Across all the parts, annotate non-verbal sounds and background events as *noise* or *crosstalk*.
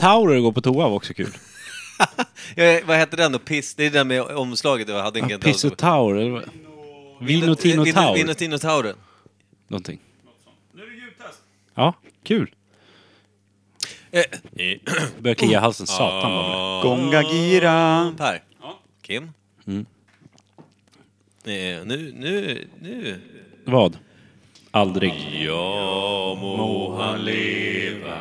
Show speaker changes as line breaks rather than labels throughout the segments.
Taurer går på toa var också kul.
Ja, vad hette den då? Piss? Det är den med omslaget. Jag hade ingen
Piss och Taur, eller vad? Vin och Tino
Vino
Taur,
Tino Tauro.
någonting. Nu är det ljudtest. Ja, kul. Eh, Börjar klia halsen, satan vad
Gonga gira.
*clears throat*
Per. Kim.
Mm.
Eh, Nu, nu, nu.
Vad? Aldrig.
Ja, må han leva.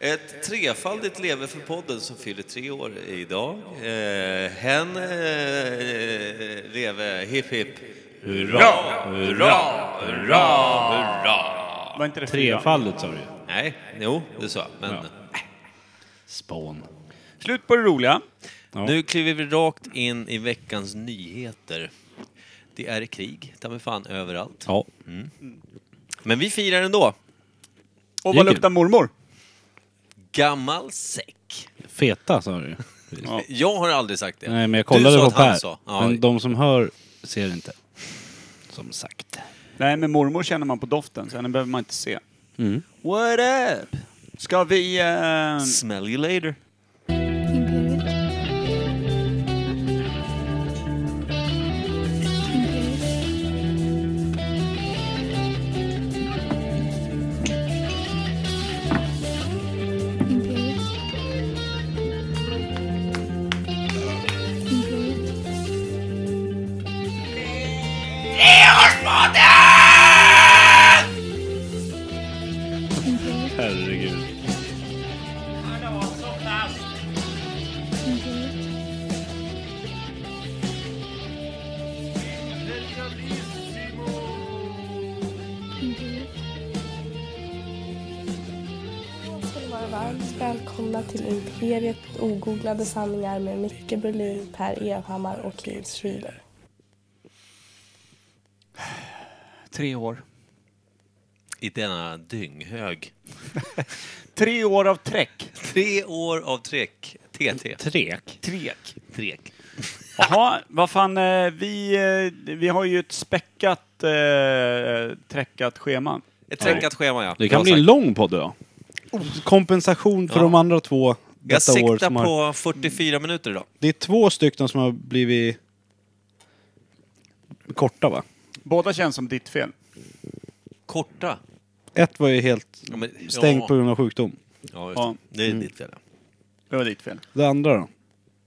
Ett trefaldigt leve för podden som fyller tre år idag. Eh, hen eh, leve hipp hipp. Hurra, hurra, hurra, hurra.
Var inte det fyra?
Trefaldigt sa du ju.
Nej, jo, det sa jag. Men
Spån.
Slut på det roliga.
Ja.
nu kliver vi rakt in i veckans nyheter. Det är krig, ta mig fan överallt.
Ja.
Men vi firar ändå.
Och
Det är
vad
kul.
luktar mormor?
Gammal säck.
Feta sa du ju. Precis.
Ja.
Jag har aldrig sagt det.
Nej, men jag
du
kollade
sa
på
att han
Per.
sa. Ja,
Men de som hör ser inte. Som sagt.
Nej, men mormor känner man på doften, så henne behöver man inte se.
Mm.
What up? Ska vi... Eh,
Smell you later.
Imperial. Imperial. Imperial. Imperial. Imperial.
Herregud.
Imperial.
ska ni vara varmt välkomna till Imperiet ogooglade sanningar med Micke Berlin, Per Evhammar och Kim Schreeder.
tre år.
I denna dynghög.
Tre år av träck.
Tre år av trek. TT.
Trek.
Trek.
Trek. *laughs*
Jaha, vad fan, eh, vi, eh, vi har ju ett späckat, eh, träckat schema.
Ett träckat schema, ja.
Det kan
Bra
bli
sagt.
en lång podd idag. Kompensation för
Ja.
de andra två
Jag
detta år.
siktar
Som har...
på 44 minuter idag.
Det är två stycken som har blivit korta va?
Båda känns som ditt fel.
Korta.
Ett var ju helt
Ja, men-
stängt
ja.
på grund av sjukdom.
Ja, just
Ja.
det. Det är ditt fel. ja.
Det var ditt fel.
Det andra då?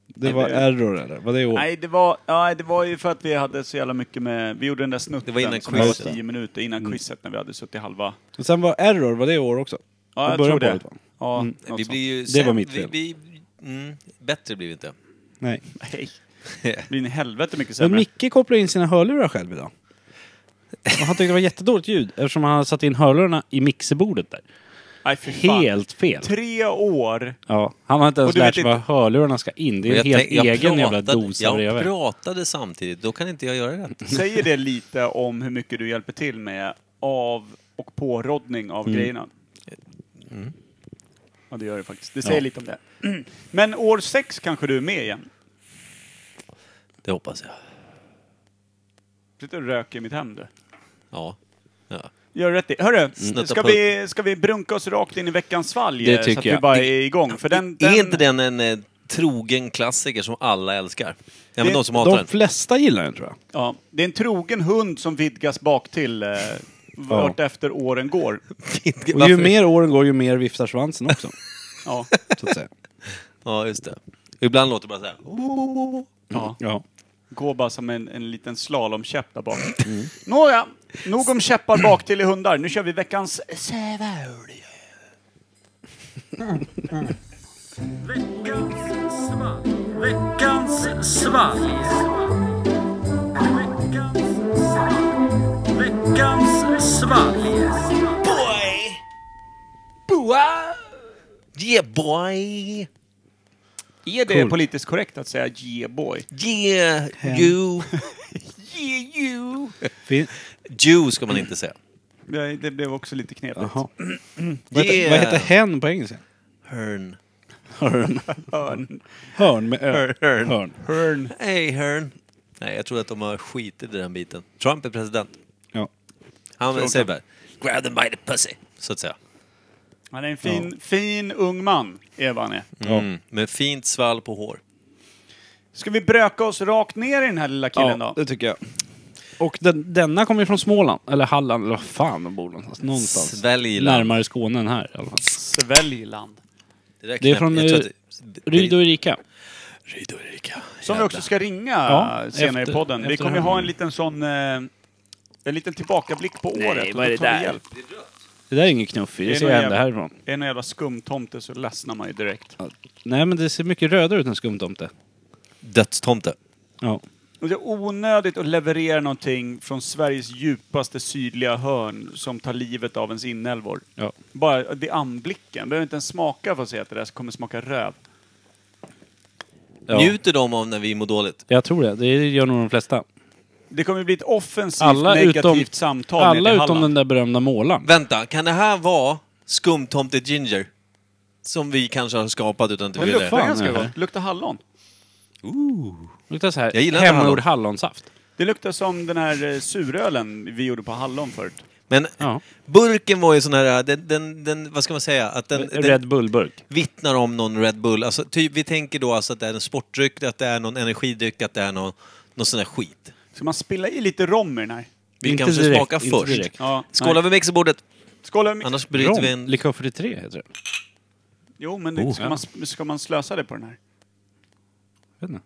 Det var
det-
error eller? Var det år?
Nej, det var, ja, det var ju för att vi hade så jävla mycket med... Vi gjorde den där snutten
Det var innan
som var
quizet. Mm.
tio minuter innan quizet när vi hade suttit halva...
Och sen var error, var det år också?
Ja,
I
jag
början
tror
på
det.
året, va?
Ja,
Mm.
något
Vi
sånt.
blir ju
Det var
säm-
mitt
vi-
fel.
Vi, mm, bättre blir vi inte.
Nej.
Nej. Det blir en helvete mycket
Men
sämre.
Micke kopplade in sina hörlurar själv idag. Och han tyckte det var jättedåligt ljud eftersom han hade satt in hörlurarna i mixerbordet där.
Nej, för fan.
Helt fel.
Tre år!
Ja, han har inte ens
Och du vet
lärt sig var hörlurarna ska in. Det är
Men
en helt
tänk- jag
egen jävla
pratade-
dosa
Jag
bredvid.
pratade samtidigt, då kan inte jag göra rätt.
Säger det lite om hur mycket du hjälper till med av och påroddning
Mm.
av grejerna? Ja, det gör det faktiskt. Det säger
Ja.
lite om det. *clears throat* Men år sex kanske du är med igen?
Det hoppas jag.
Sitter och röker i mitt hem du.
Ja. ja.
Gör rätt i. Hörru,
Snutta
ska
på-
vi, ska vi brunka oss rakt in i veckans svalg?
Det
eh, så
tycker
att vi
jag.
bara är igång. För den, den,
Är inte den en eh, trogen klassiker som alla älskar? Ja, men
Det-
de som hatar
De
den.
flesta gillar den tror jag.
Ja, det är en trogen hund som vidgas bak till eh, vart efter åren går.
*laughs*
Och ju
Varför?
mer åren går ju mer viftar svansen också.
Ja.
Så att säga.
Ja, just det. Ibland låter det bara så här.
ja.
*laughs* Ja.
Går bara som en, en liten slalomkäpp där bak. Nåja, nog om käppar bak till i hundar. Nu kör vi veckans svalg.
Boy! Boa! Yeah boy!
Är det politiskt korrekt att säga yeah boy?
Yeah you!
Vi,
Jew ska man inte säga.
Nej, Det blev också lite knepigt.
jaha. Vad, heter, vad heter hen på engelska?
Hörn.
Hörn.
Hörn.
Hörn med ö.
Hörn.
Hörn.
Hörn.
Hej Hörn. Nej, jag tror att de har skitit i den biten. Trump är president.
Ja.
Han säger bara “Grab them by the pussy”, så att säga.
Han är en fin, fin ung man, är vad han är.
Mm. Med fint svall på hår.
Ska vi bröka oss rakt ner i den här lilla killen
ja,
då?
det tycker jag. Och den, denna kommer ju från Småland, eller Halland, eller vad fan de bor någonstans. någonstans.
Sväljland.
Närmare Skåne än här i alla fall.
Sväljland.
Det, där
Det är
knäpp-
från
jag tror att-
Ryd och Erika.
Ryd och Erika.
Som vi
Jävlar.
också ska ringa
Ja,
senare
efter-
i podden. Vi
efter
kommer ju
här.
ha en liten sån... Eh, en liten tillbakablick på året. och
vad är
då
det
tar vi
där?
Hjälp.
Det där är ingen knuffig,
Det
det
är
ser
nog
jag ändå
jävla-
härifrån.
Är det någon jävla skumtomte så ledsnar man ju direkt.
Nej men det ser mycket rödare ut än skumtomte.
Dödstomte.
Ja.
Och det är onödigt att leverera någonting från Sveriges djupaste sydliga hörn som tar livet av ens inälvor.
ja.
Bara det är anblicken. Behöver inte ens smaka för att säga att det där kommer smaka röv.
Ja.
Njuter de av när vi mår dåligt?
Jag tror det, det gör nog de flesta.
Det kommer bli ett offensivt,
Alla
negativt
utom,
samtal
alla
ner till
utom den
Halland.
där berömda målaren.
Vänta, kan det här vara skumtomte Ginger? Som vi kanske har skapat utan att vi
Den
vill
luktar
det.
fan
ganska
är det?
gott. Luktar hallon.
Luktar så
Jag
här,
gillar inte
hemgjord
hallon.
hallonsaft.
Det luktar som den här eh, surölen vi gjorde på hallon förut.
Men
Ja.
burken var ju sån här, den, den, den, vad ska man säga? Att den,
En
den
Red Bull-burk.
vittnar om någon Red Bull. Alltså, typ, vi tänker då alltså att det är en sportdryck, att det är någon energidryck, att det är någon, någon sån här skit.
Ska man spilla i lite rom i den här?
Vi
Inte
kanske
direkt,
smakar
inte
först.
direkt.
Ja.
Skålar vi med mixerbordet,
Skål! med-
annars bryter vi
Rom,
en...
Likör 43 heter det.
Jo, men det,
Oh.
ska, man, ska man slösa det på den här?
Jag vet inte.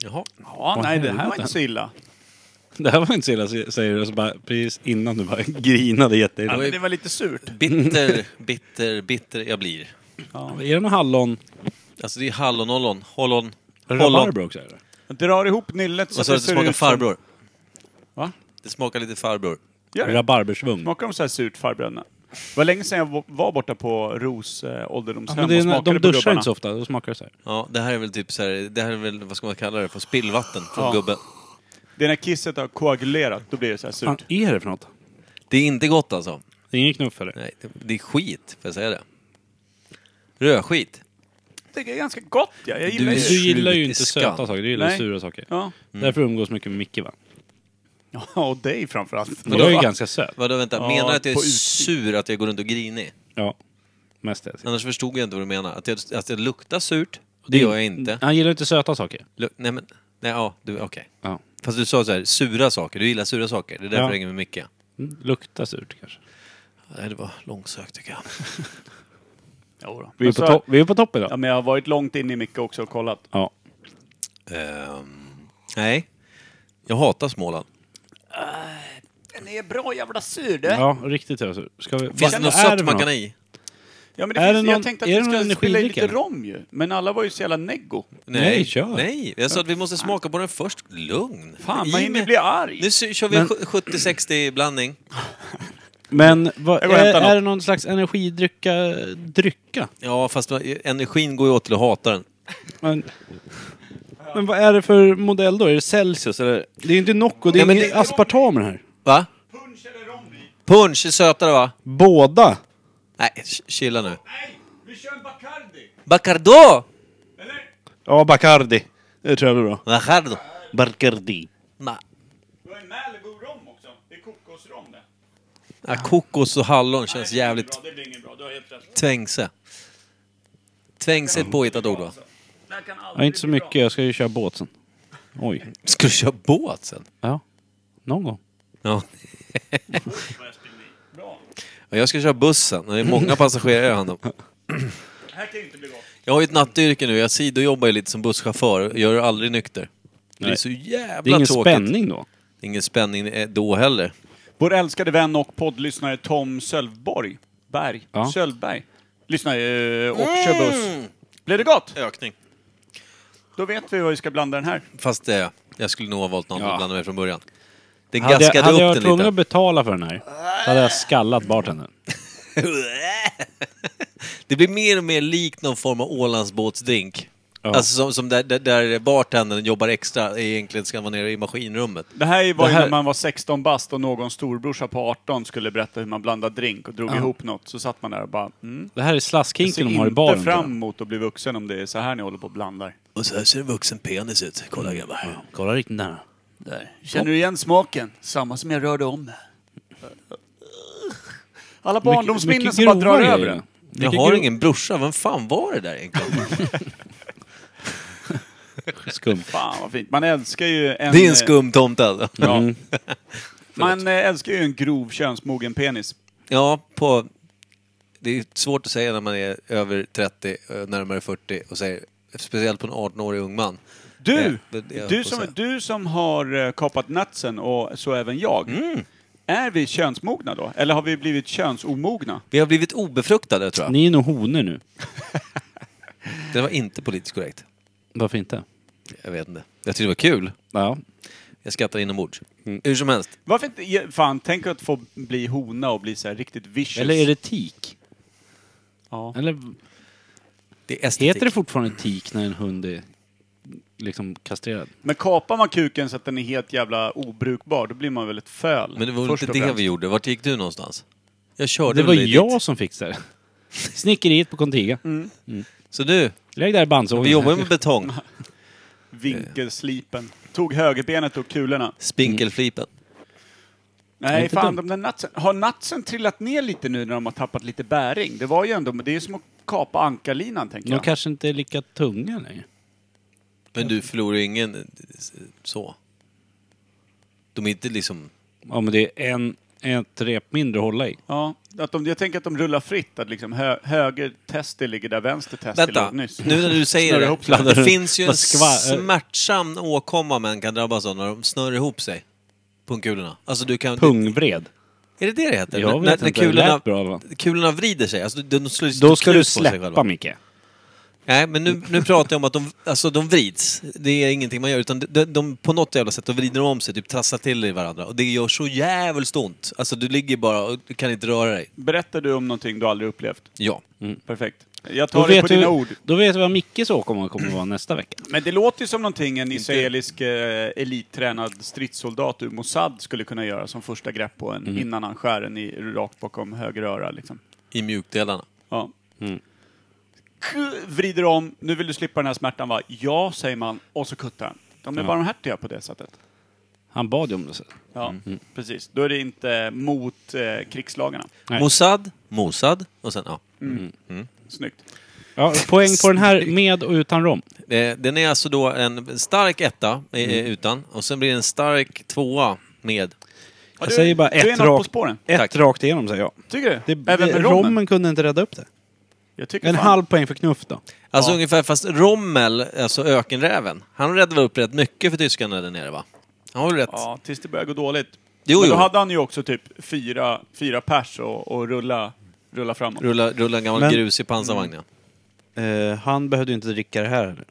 Jaha.
Ja, nej, det här var inte så illa.
Det här var inte så illa, säger du. och Så bara, precis innan du bara *laughs* grinade jätteilla.
Ja, men det var lite surt.
Bitter, bitter, bitter jag blir.
Är det någon hallon?
Alltså det är hallonollon, hollon, hollon.
Rabarber också? Eller?
Drar ihop nyllet så,
Och så
att
att det smakar
ut som-
farbror.
liksom. Va?
Det smakar lite farbror.
Gör det?
Rabarbersvung.
Smakar de så här surt, farbröderna? Det var länge sedan jag va- var borta på Ros eh,
Ja,
ålderdomshem
men det är,
och
när-
smakade
de
på
duschar
gubbarna.
inte så ofta, då smakar det så här.
Ja, det här är väl typ så här, det här är väl, vad ska man kalla det för, spillvatten från
Ja.
gubben.
Det är när kisset har koagulerat, då blir det så här
Vad
surt.
fan är det för något?
Det är inte gott alltså.
Det är ingen knuff för det.
Nej, det, det är skit, får jag säga det. Rödskit.
Jag tycker Det är ganska gott, ja. jag gillar
Du-
det.
Du gillar ju
Slut i
inte
skam.
söta saker, du gillar
Nej.
sura saker.
Ja.
Mm. Därför umgås mycket med Micke va?
ja, och dig framförallt.
Men jag är ju
va?
ganska söt.
Vadå vänta,
Ja,
menar du att jag
på
är
utsikt.
sur att jag går runt och grinig?
Ja. Mest det.
Annars förstod jag inte vad du menar. Att jag, att jag luktar surt, det gör jag inte.
Han gillar inte söta saker.
Luk, nej men, nej ja, du, okej.
Ja.
Fast du sa så här, sura saker, du gillar sura saker. Det är därför
Ja.
jag hänger med Micke.
Mm, Luktar surt kanske.
Nej, det var långsökt tycker jag.
Jo då.
Vi är,
Men
på,
så-
topp- vi är på topp
Ja,
idag.
men jag har varit långt in i Micke också och kollat.
Ja.
Ehm, nej, jag hatar Småland.
Den är bra jävla sur, du.
Ja, riktigt jävla sur. Ska vi...
Finns det
Vad
något
är
sött
för
man
något?
kan ha i?
Ja, men det
Är
finns,
det någon-
jag tänkte
är det
att vi
någon
skulle spilla i
energidricka?
lite rom ju, men alla var ju så jävla neggo.
Nej, kör.
Nej, jag sa att vi måste smaka på den först. Lugn.
Fan,
I med-
man hinner bli arg.
Nu sy- kör vi
Men-
sj- 70-60 blandning.
Men vad,
Jag går och
är,
hämtar något.
är det någon slags energidrycka? Drycka?
Ja, fast va- energin går ju åt till att hata den.
Men, men vad är det för modell då? Är det Celsius eller? Det är inte Nocco, det är
Nej, men
ingen
det är-
aspartam i den här.
Va? Punch är sötare va?
Båda!
Nej, ch- chilla nu.
Nej, vi kör en Bacardi!
Bacardo!
Eller?
Ja, Bacardi. Det tror jag blir bra.
Bacardo.
Bacardi.
Nej.
Du har en Malibu-rom också. Det är kokosrom det.
Ja, kokos och hallon känns jävligt
Det blir inget bra, du har helt rätt.
tvängse. Tvängse är ett påhittat ord va?
Det här kan
Ja,
aldrig
inte så mycket. Jag ska ju köra båt sen. Oj.
Ska du köra båt sen?
Ja. Någon gång.
Ja. Ja, Jag ska köra bussen. Det är många passagerare jag har hand om.
Det här kan ju inte bli gott.
Jag har ju ett nattyrke nu. Jag sidojobbar ju lite som busschaufför. Jag gör det aldrig nykter. Det är
Nej.
så
Det är
jävla
ingen
tråkigt.
spänning då.
Det är ingen spänning eh, då heller.
Vår älskade vän och poddlyssnare Tom Sölvborg. Berg.
Ja.
Sölvberg. Lyssnar ju och kör buss. Blev det gott?
Ökning.
Då vet vi vad vi ska blanda den här.
Fast eh, jag skulle nog ha valt någon
Ja.
att blanda med från början. Den
Hade jag,
gaskade
hade jag
upp
varit
den
tvungen att
lite.
betala för den här, hade jag skallat bartendern.
det blir mer och mer likt någon form av Ålandsbåtsdrink.
Ja.
Alltså som, som där, där, där bartendern jobbar extra, egentligen ska vara nere i maskinrummet.
Det här var
Det
ju
här-
när man var 16 bast och någon storbrorsa på 18 skulle berätta hur man blandar drink och drog ihop något. Så satt man där och bara, mm.
Det här är
Jag ser
slaskhinken de har i
inte
baren.
fram emot att bli vuxen om det är så här ni håller på och blandar.
Och så här ser en vuxen penis ut. Kolla grabbar.
Kolla riktigt nära.
Där. Känner du igen smaken? Samma som jag rörde om. Alla barndomsminnen
mycket
som bara
grova
drar över
grejer.
en.
Jag
Vilken
har
grov-
ingen brorsa, vem fan var det där egentligen?
Skumt.
Fan vad fint. Man älskar ju en... eh,
Det är en skum tomte alltså.
Ja.
Mm.
*laughs* Man eh, älskar ju en grov könsmogen penis.
Ja, på... Det är svårt att säga när man är över 30, eh, närmare 40 och säger, speciellt på en 18-årig ung man. Eh,
Du,
det- det jag
du,
får
som,
säga.
du som har eh, kapat nutsen och så även jag.
Mm.
Är vi könsmogna då? Eller har vi blivit könsomogna?
Vi har blivit obefruktade tror jag.
Ni är nog honor nu.
Det var inte politiskt korrekt.
Varför inte?
Jag vet inte. Jag tyckte det var kul.
Ja.
Jag skrattar inombords.
Mm.
Hur som helst.
Varför inte? ge- Fan, tänk att få bli hona och bli så här riktigt vicious.
Eller är det tik?
Ja.
Eller
Det är estetik.
heter det fortfarande tik när en hund är liksom kastrerad?
Men kapar man kuken så att den är helt jävla obrukbar, då blir man väl ett föl.
Men det var
först
inte
och
det
främst.
vi gjorde. Vart gick du någonstans? Jag körde
Det
väl
var
dig dit.
jag som fixade det. Snickeriet på Contiga.
Så du,
Lägg där bandsågen.
Mm. vi jobbar ju med
Mm.
betong.
Vinkelslipen. Tog högerbenet och kulorna.
Spinkelflipen.
Det är
Nej,
inte
fan,
dumt.
de där natsen. Har natsen trillat ner lite nu när de har tappat lite bäring? Det var ju ändå, men det är ju som att kapa ankarlinan,
*laughs*
tänker
De
jag.
kanske inte är lika tunga längre.
Men du förlorar ju ingen eh, så. De är inte liksom...
Ja, men det är en, ett rep mindre att hålla i.
Ja, att de, jag tänker att de rullar fritt, att liksom hö, höger testel ligger där vänster testel
Vänta,
låg
nu
nyss.
när du säger
Snurrar
det.
ihop sig.
Plan, Det finns ju en
Vad skva- eh.
smärtsam åkomma man kan drabbas av när de snurrar ihop sig. Pungkulorna. Alltså du kan...
Pungvred.
Är det det det heter?
Jag
När-
vet
när,
inte.
När
Det
kulorna,
lät bra, va?
kulorna vrider sig. Alltså de slår
Då ska
knut
du
på sig själva.
släppa, Micke.
Nej, men nu, nu pratar jag om att de, alltså, de vrids. Det är ingenting man gör, utan de, de på något jävla sätt, de vrider om sig, typ trassar till i varandra. Och det gör så jävligt ont. Alltså du ligger bara och du kan inte röra dig. Mm.
Berättar du om någonting du aldrig upplevt?
Ja.
Perfekt. Jag
Då
tar det på
vet,
dina
du,
ord.
då vet vi vad Mickes åkomma kommer att vara nästa vecka.
Men det låter ju som någonting en israelisk eh, elittränad stridssoldat ur Mossad skulle kunna göra som första grepp på en innan han skär en i, rakt bakom höger öra. Liksom.
I mjukdelarna.
Ja. K- Vrider om, nu vill du slippa den här smärtan va? Ja, säger man, och så kuttar han. De är barmhärtiga på det sättet.
Han bad ju om det. sen.
Ja, precis. Då är det inte mot eh, krigslagarna.
Nej.
Mossad, Mossad och sen ja.
Snyggt.
Ja, poäng på den här med och utan rom.
Eh, Den är alltså då en stark etta eh, utan och sen blir det en stark tvåa med.
Ja,
Jag
du-
säger bara
du är
ett,
något på
rakt,
spåren.
ett
Tack.
rakt igenom, säger jag.
Tycker du?
Det,
Även
det,
med rommen?
rommen. kunde inte rädda upp det.
Jag tycker
En
fan-
halv poäng för knuff då.
Alltså
Ja.
ungefär, fast Rommel, alltså ökenräven, han räddade upp rätt mycket för tyskarna där nere va? Han har väl rätt?
Ja, tills det börjar gå dåligt.
Jo,
Men då
jo.
hade han ju också typ fyra, fyra pers och, och rulla, rulla framåt.
Rulla, rulla en gammal
Men-
grus i pansarvagnen.
Eh, han behövde ju inte dricka det här. heller.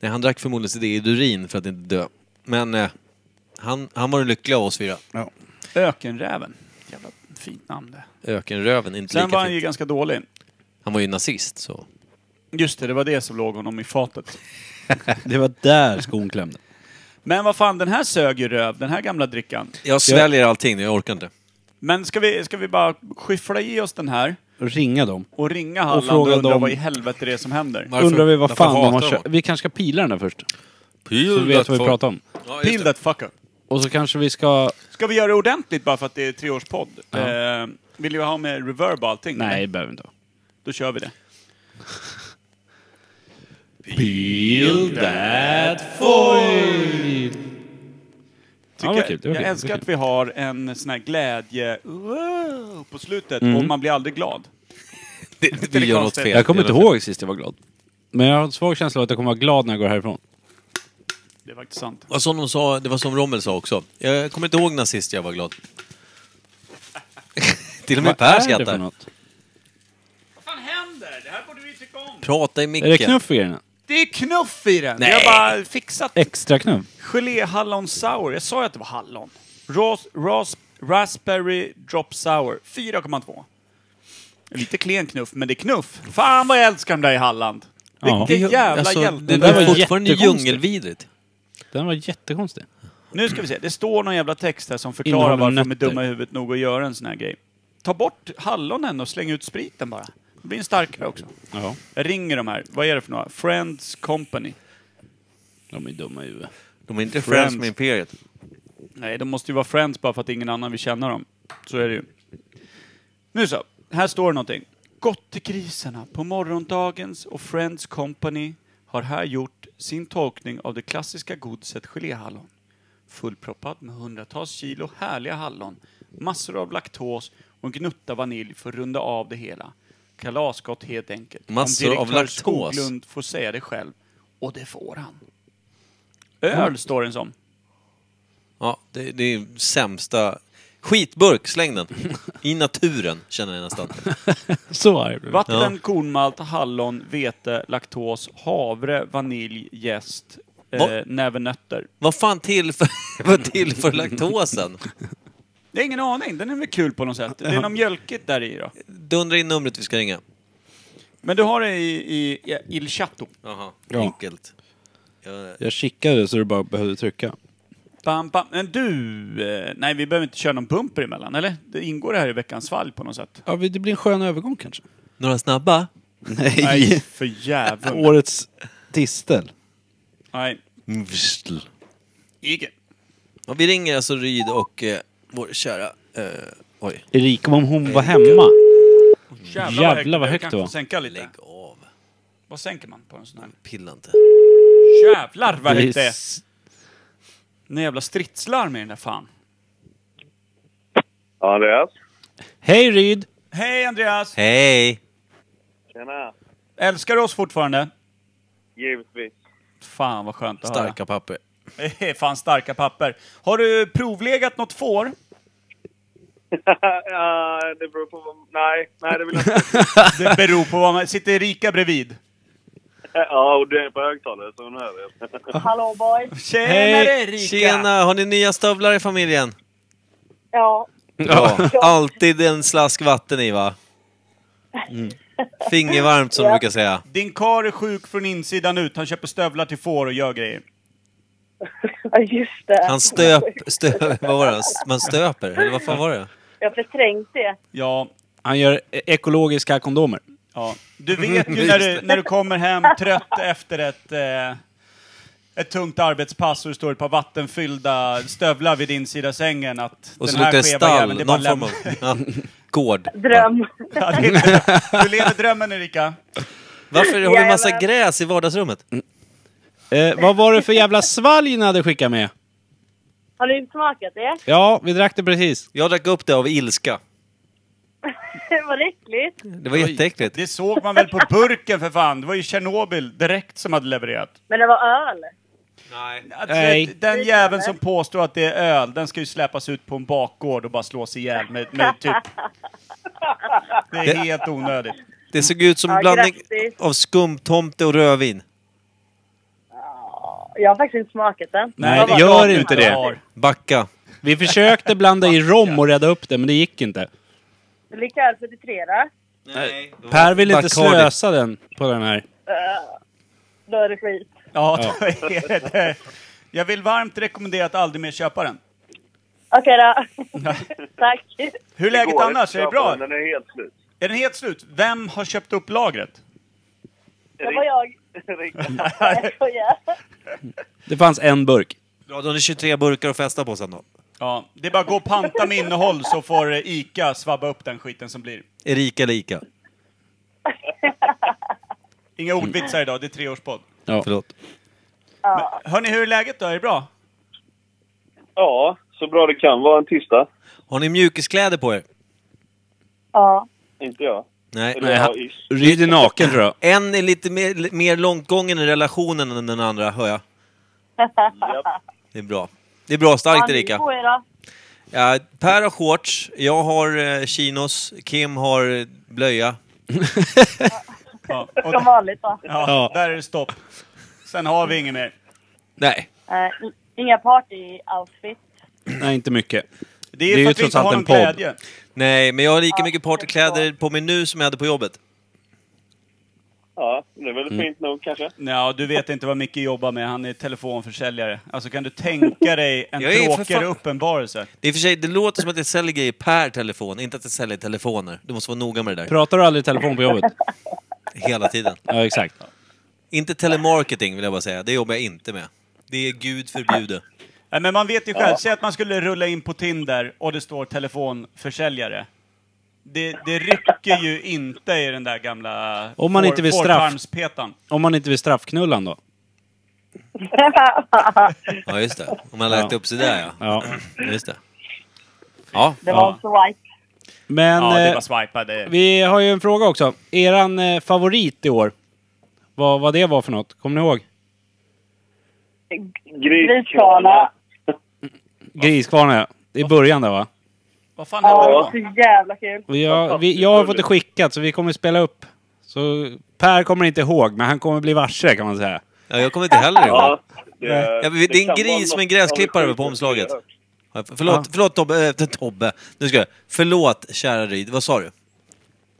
Nej, han drack förmodligen sitt eget urin för att inte dö. Men eh, han, han var den lyckliga av oss fyra.
Ja.
Ökenräven. Jävla fint namn det.
Ökenröven, inte
Sen var
lika
han ju
fint.
ganska dålig.
Han var ju nazist, så...
Just det, det var det som låg honom i fatet.
Det var där skon klämde.
Men vad fan, den här sög ju röv, den här gamla drickan.
Jag sväljer allting nu, jag orkar inte.
Men ska vi, ska vi bara skyffla i oss den här
Ringa dem.
och ringa Halland och,
fråga
undra
dem-
vad i helvete det är som händer?
Varför-
Undrar vi vad
varför
fan de har
hatar de
kört. Vi kanske ska pila den där först. Så
Peel
vi vet vad vi pratar om.
Ja,
Peel
just det.
that fuck up.
Och så kanske vi ska...
Ska vi göra det ordentligt bara för att det är treårspodd? Eh, vill vi ha med reverb och allting?
Nej,
eller?
det behöver vi inte.
Då kör vi det.
Peel that
Tycker
Ja, vad kul,
jag,
det var
jag
kul,
älskar
det var
att vi har en sån här glädje wow, på slutet
Mm.
och man blir aldrig glad.
Det- Vi gör något
konstigt.
fel.
Jag kommer
Vi
inte
gör något fel.
ihåg sist jag var glad. Men jag har en svag känsla av att jag kommer vara glad när jag går härifrån.
Det är faktiskt sant.
Vad som de sa, det var som Rommel sa också. Jag kommer inte ihåg nazist, jag var glad. *laughs* Till och med Per
är det för
skrattar.
något?
Vad fan händer? Det här borde vi tycka om.
Prata i
Är det
micken.
knuff i grejerna?
Det är knuff i den!
Nej.
Vi har bara fixat
Extra knuff?
geléhallon sour. Jag sa ju att det var hallon. Ras, ras, raspberry drop sour. 4,2. Lite klen knuff, men det är knuff. Fan vad jag älskar de där i Halland.
Ja. alltså,
Vilken jävla hjälte.
det
Det
där
var
var
fortfarande
jättekonstigt.
djungelvidrigt.
Den var jättekonstig.
Nu ska vi se, det står någon jävla text här som förklarar
Innehåller
varför de är
nötter.
dumma i huvudet nog att göra en sån här grej. Ta bort hallonen och släng ut spriten bara. Det blir en starkare också.
Ja.
Jag ringer de här. Vad är det för några? Friends Company.
De är dumma i huvudet.
De är inte
Friends.
friends med Imperiet.
Nej, de måste ju vara friends bara för att ingen annan vill känna dem. Så är det ju. Nu så, här står det någonting. Gottegrisarna på morgondagens och Friends Company har här gjort sin tolkning av det klassiska godiset geléhallon. Fullproppad med hundratals kilo härliga hallon, massor av laktos och en gnutta vanilj för att runda av det hela. Kalasgott helt enkelt. Om
Massor av
direktör
laktos.
Skoglund får säga det själv. Och det får han.
Mm.
Öl står den som.
Ja, det, det är sämsta... Skitburk, släng den! I naturen, känner jag nästan.
Så arg blev jag.
Vatten, kornmalt, hallon, vete, laktos, havre, vanilj, jäst, eh,
Va?
nävernötter.
Vad fan tillför, *laughs* vad tillför laktosen?
Det är ingen aning, den är väl kul på något sätt. Det är något mjölkigt där i då.
Dundra in numret vi ska ringa.
Men du har det i, i, i Il Chato.
Jaha,
Ja.
enkelt. Jag,
Jag kikade så du bara behövde trycka.
Bam, bam. Men du, eh, nej vi behöver inte köra någon bumper emellan, eller? Det ingår det här i veckans svalg på något sätt?
Ja, det blir en skön övergång kanske.
några snabba?
Nej, för jäveln.
Årets distel.
Nej, icke.
Ja, vi ringer alltså Ryd och eh, vår kära... Eh, oj.
Erika, om hon var hemma. Jävlar, vad högt
kanske
det var.
får Sänka lite.
Lägg av.
Vad sänker man på en sån här?
Pilla inte.
Jävlar vad högt det är!
s-
Någon jävla stridslarm i den där fan.
Andreas?
Hej Ryd!
Hej Andreas!
Hej!
Tjena!
Älskar du oss fortfarande?
Givetvis. *laughs*
Fan vad skönt att *laughs*
Starka papper.
höra. Fan starka papper. Har du provlegat något får?
Ja, det beror på vad... Nej, nej det vill jag inte.
Det beror på vad man... Sitter Erika bredvid?
*laughs* Ja, och det är på högtalare så hon hör det.
Hallå boys!
Tjenare Erika!
Tjena! Har ni nya stövlar i familjen?
Ja,
Ja. Alltid en slask vatten i va? Mm. Fingervarmt som de brukar säga.
Din kar är sjuk från insidan ut. Han köper stövlar till får och gör grejer.
ja, just det.
Han stöp... stöp vad var det? Man stöper? Eller vad fan var det?
Jag har förträngt det.
Ja.
Han gör e- ekologiska kondomer.
ja. Du
*laughs*
vet ju när du, när du kommer hem trött efter ett... Eh, ett tungt arbetspass och det står ett par vattenfyllda stövlar vid din sida sängen att
Och så
den här
luktar det
skeva
stall.
jäveln, det är bara
Någon form av...
lämna.
Ja. Gård.
Dröm.
*laughs* Ja, det är- Du lever drömmen Erika.
Varför har du massa
Jajamän.
gräs i vardagsrummet?
Eh, vad var det för jävla svalg ni hade skickat med?
Har ni inte smakat det?
Ja, vi drack det precis.
Jag drack upp det av ilska.
Vad äckligt.
Det var jätteäckligt.
Det såg man väl på burken för fan. Det var ju Tjernobyl direkt som hade levererat.
Men det var öl.
Att,
Alltså, Nej.
Den jäveln som påstår att det är öl, den ska ju släpas ut på en bakgård och bara slås ihjäl med, med typ... Det är helt onödigt.
Det såg ut som en
Ja,
blandning
grattis.
av skumtomte och rödvin.
Jag har faktiskt inte smakat den.
Nej,
Vad
det
var
gör
den?
inte det.
Backa.
Vi försökte blanda i rom och rädda upp det, men det gick inte.
Likör 43 då.
Nej.
Per vill inte
Bacardi.
slösa den på den här.
Då är det skit.
Ja, då är det det. Jag vill varmt rekommendera att aldrig mer köpa den.
Okej då. *laughs* Tack.
Hur är läget
går
annars?
inte
Är det
att köpa
bra?
Den den är helt slut.
Är den helt slut? Vem har köpt upp lagret? *laughs*
Det var jag.
*laughs* Riktigt.
Jag skojar.
Det fanns en burk.
Ja, då har ni 23 burkar att festa på sen då.
Ja, det är bara att gå och panta med innehåll så får eh, ICA svabba upp den skiten som blir.
Erika lika.
Inga ordvitsar idag, det är treårspodd.
Ja.
Förlåt.
Hörni, hur är läget då? Är det bra?
Ja, så bra det kan vara en tisdag.
Har ni mjukiskläder på er?
Ja.
Inte jag.
Nej.
Eller
han-
jag, ish.
Ryd är naken tror jag.
En är lite mer, mer långt gången i relationen än den andra, hör jag. Det är bra. Det är bra, starkt Erika.
På er då.
Ja, per har shorts, jag har eh, chinos, Kim har eh, blöja.
Ja,
Som
och,
vanligt då.
ja, där är det stopp. Sen har vi inget mer.
Nej.
Eh, Inga party-outfits.
Nej, inte mycket.
Det
Det är
är, för
ju
att vi
trots
inte
allt
har
en
någon
podd.
glädje.
Nej, men jag har lika mycket
jag förstår.
partykläder på mig nu som jag hade på jobbet.
Ja, det är väl
Mm.
fint nog kanske.
Ja, du vet inte vad Micke jobbar med. Han är telefonförsäljare. Alltså kan du tänka dig en
Jag är för
tråkigare
fan-
uppenbarelse?
Det, är i och för sig, det låter som att jag säljer grejer per telefon, inte att jag säljer telefoner. Du måste vara noga med det där.
Pratar du aldrig i telefon på jobbet?
*laughs*
Hela tiden.
Ja, exakt.
Inte telemarketing vill jag bara säga, det jobbar jag inte med. Det är gud förbjude.
Nej, men man vet ju själv. Säg att man skulle rulla in på Tinder och det står telefonförsäljare. Det, det rycker ju inte i den där gamla
Om man inte vill straff.
fårtarmspetan.
Om man inte vill straffknullan då?
Ja, just det. Om man lät
Ja.
upp sig där ja.
Ja.
Just det. Ja.
Det var swipe.
Men
Ja, det
eh,
var swipade.
vi har ju en fråga också. Eran eh, favorit i år, vad, vad det var för något? Kommer ni ihåg?
Griskala.
Griskvarna ja. I början där va?
Vad fan hände då?
Ja, så jävla kul.
Och Jag, vi, jag har fått det skickat så vi kommer spela upp. Så Per kommer inte ihåg, men han kommer bli varse kan man säga.
ja, jag kommer inte heller ihåg.
Ja, det,
Ja, men det är en
kan
gris
vara
med en
något
gräsklippare
av det
på
sjukaste jag
omslaget.
hört.
Ja, Förlåt,
Ja.
förlåt Tobbe, äh, *laughs* Tobbe. Nu ska jag. Förlåt kära Ryd, vad sa du?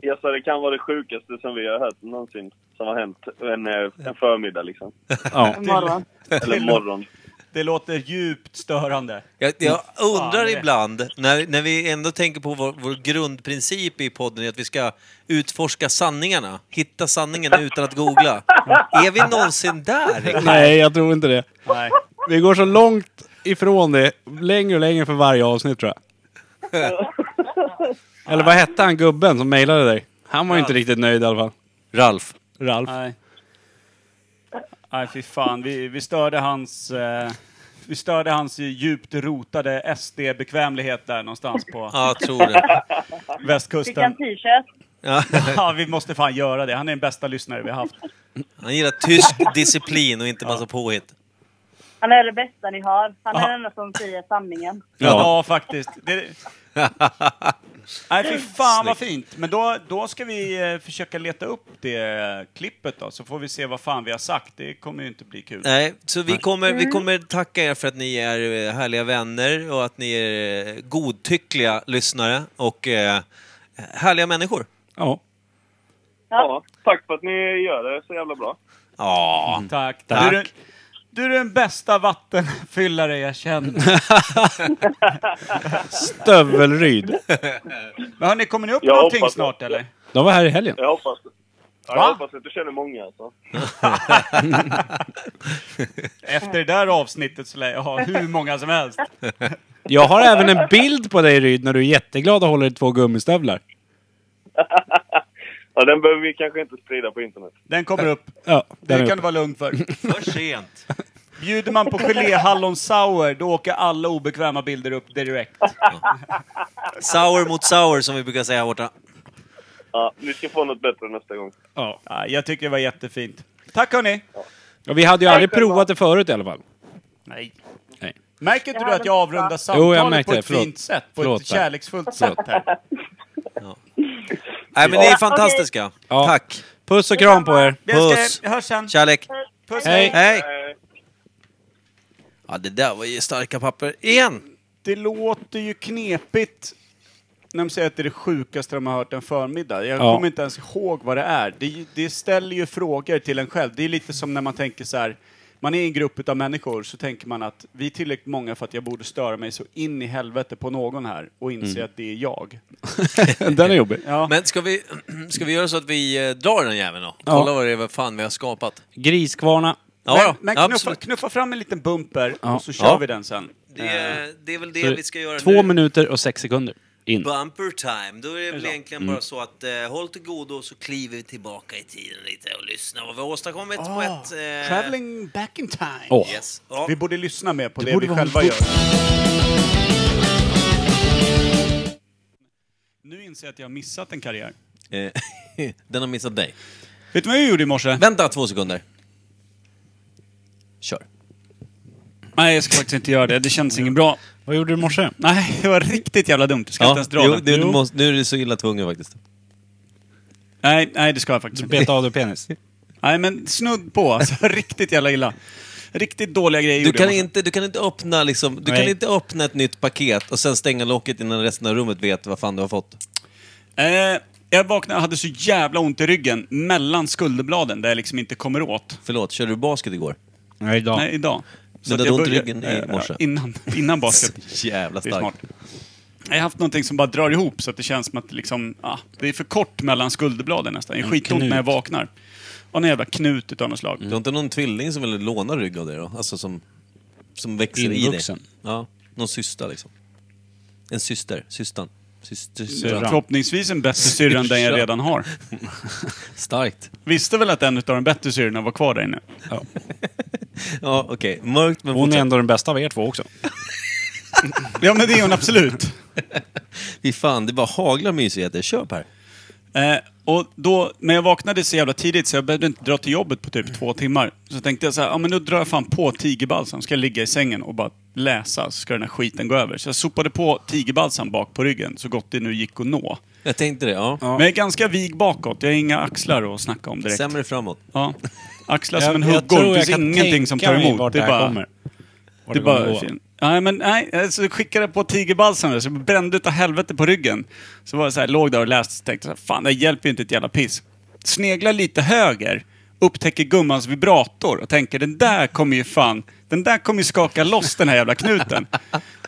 Jag sa det kan vara det sjukaste som vi har hört någonsin. Som har hänt en, eh, en
*laughs*
förmiddag liksom.
Ja.
Morgon.
Eller morgon.
Det låter djupt störande.
Jag, jag undrar
det-
ibland, när, när vi ändå tänker på vår, vår grundprincip i podden, är att vi ska utforska sanningarna. Hitta sanningen utan att
*laughs*
googla. Är vi någonsin där? Rickard?
Nej, jag tror inte det.
Nej.
Vi går så långt ifrån det, längre och längre för varje avsnitt tror jag. Eller vad hette han gubben som mejlade dig? Han var ju inte riktigt nöjd i alla fall.
Ralf.
Ralf.
Nej. Nej, fy fan. Vi, vi störde hans... Eh, vi störde hans djupt rotade SD-bekvämlighet där någonstans på
Ja, jag tror det.
Fick en
västkusten.
t-shirt.
Ja,
Ja, vi måste fan göra det. Han är den bästa lyssnare vi har haft.
han gillar tysk disciplin och inte massa påhitt.
Han är det bästa ni har. Han
Ja.
är den enda som säger sanningen.
Ja, faktiskt. Det... Nej, fy fan vad fint. Men då, då ska vi eh, försöka leta upp det eh, klippet då, så får vi se vad fan vi har sagt. Det kommer ju inte bli kul.
Nej, så vi kommer,
Mm.
vi kommer tacka er för att ni är eh, härliga vänner och att ni är eh, godtyckliga lyssnare och eh, härliga människor.
Ja.
Ja, tack för att ni gör det så jävla bra.
Ja,
Tack.
Tack.
Du, är, den- du är den bästa vattenfyllare jag känner.
Stövelryd.
Men hörni, kommer ni upp
Jag
någonting
hoppas det.
snart eller?
De var här i helgen.
Jag hoppas det. Ja,
Va?
jag hoppas att du känner många alltså.
Efter det där avsnittet så lär jag ha hur många som helst.
Jag har även en bild på dig Ryd när du är jätteglad och håller i två gummistövlar.
Ja, den behöver vi kanske inte sprida på internet.
Den kommer upp.
Ja, där
Det
är
kan
uppe.
du vara lugn för.
Mm.
*laughs* för sent.
Bjuder man på geléhallon sour, då åker alla obekväma bilder upp direkt.
Sour mot sour som vi brukar säga här borta.
Ja, ni ska få något bättre nästa gång.
ja.
Ja, jag tycker det var jättefint. Tack hörni!
Ja, Vi hade ju aldrig provat det förut i alla fall.
Nej.
Nej.
Märker inte du att jag
Jo,
avrundar
jag
samtalet
märkte
på
det.
ett
Förlåt.
fint sätt? På
Förlåt,
ett
Per.
kärleksfullt
Förlåt.
sätt här.
Nej, men ni är fantastiska.
Ja.
Tack.
Puss och kram på er.
Vi
Puss.
ska, hörs sen.
Kärlek.
Puss,
Hej.
Hej.
Eh,
Ja, det där var ju starka papper. Igen!
Det låter ju knepigt när de säger att det är det sjukaste de har hört en förmiddag. Jag
Ja.
kommer inte ens ihåg vad det är. Det, det ställer ju frågor till en själv. Det är lite som när man tänker så här, man är i en grupp av människor så tänker man att vi är tillräckligt många för att jag borde störa mig så in i helvete på någon här och inse att det är jag.
Den är jobbig.
Ja.
Men ska vi, *clears throat* ska vi göra så att vi eh, drar den jäveln då?
Ja.
Kolla vad det är vad fan vi har skapat.
Griskvarna.
Ja,
men
ja,
men knuffa,
absolut.
knuffa fram en liten bumper
Ja.
och så kör
Ja.
vi den sen.
Det är, det är väl det vi ska göra
Eh, Två
nu.
minuter och sex sekunder. In.
Bumper time. Då är det väl
så? Mm.
egentligen bara så att eh, håll till godo och så kliver vi tillbaka i tiden lite och lyssnar vad vi har åstadkommit på ett... eh,
Ah, Traveling back in time.
Åh.
Yes. Ja.
Vi borde lyssna mer på det,
borde
vi
vara en
själva
bok.
gör. Nu inser jag att jag har missat en karriär.
Eh, *laughs* Den har missat dig.
Vet du vad jag gjorde i morse?
Vänta två sekunder. Kör.
Nej, jag ska faktiskt inte göra det. Det känns inget bra.
Vad gjorde du i morse?
Nej, det var riktigt jävla dumt. Du ska inte ens dra den. Jo.
nu är du så illa tvungen faktiskt.
Nej, nej, det ska jag faktiskt
Du
inte.
bet av dig penis.
Nej, men snudd på. Alltså, *laughs* riktigt jävla illa. Riktigt dåliga grejer
Du
gjorde
kan,
jag i morse.
inte, du, kan inte öppna liksom, du kan
Nej.
inte öppna ett nytt paket och sen stänga locket innan resten av rummet vet vad fan du har fått.
Eh, Jag vaknade och hade så jävla ont i ryggen mellan skulderbladen där jag liksom inte kommer åt.
Förlåt, körde du basket igår?
Nej, idag.
Nej, idag. Så
Men
att
du hade
jag
ont i
börjar-
ryggen i
eh,
morse?
Innan,
*laughs*
innan basket.
Jävla
Det är smart.
starkt.
Jag har haft någonting som bara drar ihop så att det känns som att det liksom, ah, det är för kort mellan skulderbladen nästan. Det
Mm,
är skitont när jag
knut.
vaknar. Och en jävla knut utav något slag.
Du har inte någon tvilling som vill låna rygg av dig då? Alltså som, som växer i
Invuxen.
dig? Ja, någon syster liksom. En syster, systern. Syster,
Syrran.
Förhoppningsvis en bättre syrra än den jag
Syrran.
redan har.
Starkt.
Visste väl att en utav de bättre syrrorna var kvar där inne.
Ja, okej. Mörkt men
Hon är
fortsätt.
ändå den bästa av er två också.
Ja men det är hon absolut.
Fy fan, det bara haglar mysigheter. Kör Per.
Eh, och då, när jag vaknade så jävla tidigt så jag behövde inte dra till jobbet på typ två timmar. Så tänkte jag så här, ja men nu drar jag fan på tigerbalsam. Ska jag ligga i sängen och bara läsa så ska den här skiten gå över. Så jag sopade på tigerbalsam bak på ryggen så gott det nu gick att nå.
Jag tänkte det, ja.
Men jag är ganska vig bakåt, jag har inga axlar att snacka om direkt.
Sämre framåt.
Ja. Axlar som en huggorm, det finns ingenting som tar emot.
vart
det
det
är
här
bara...
kommer. Vart
Det är
kommer
bara...
gå.
Nej, men nej. Så skickade jag på tigerbalsam där, så jag brände utav helvete på ryggen. Så var jag så här, låg där och läste och tänkte så här, fan det här hjälper ju inte ett jävla piss. Sneglar lite höger, upptäcker gummans vibrator och tänker den där kommer ju fan, den där kommer ju skaka loss den här jävla knuten.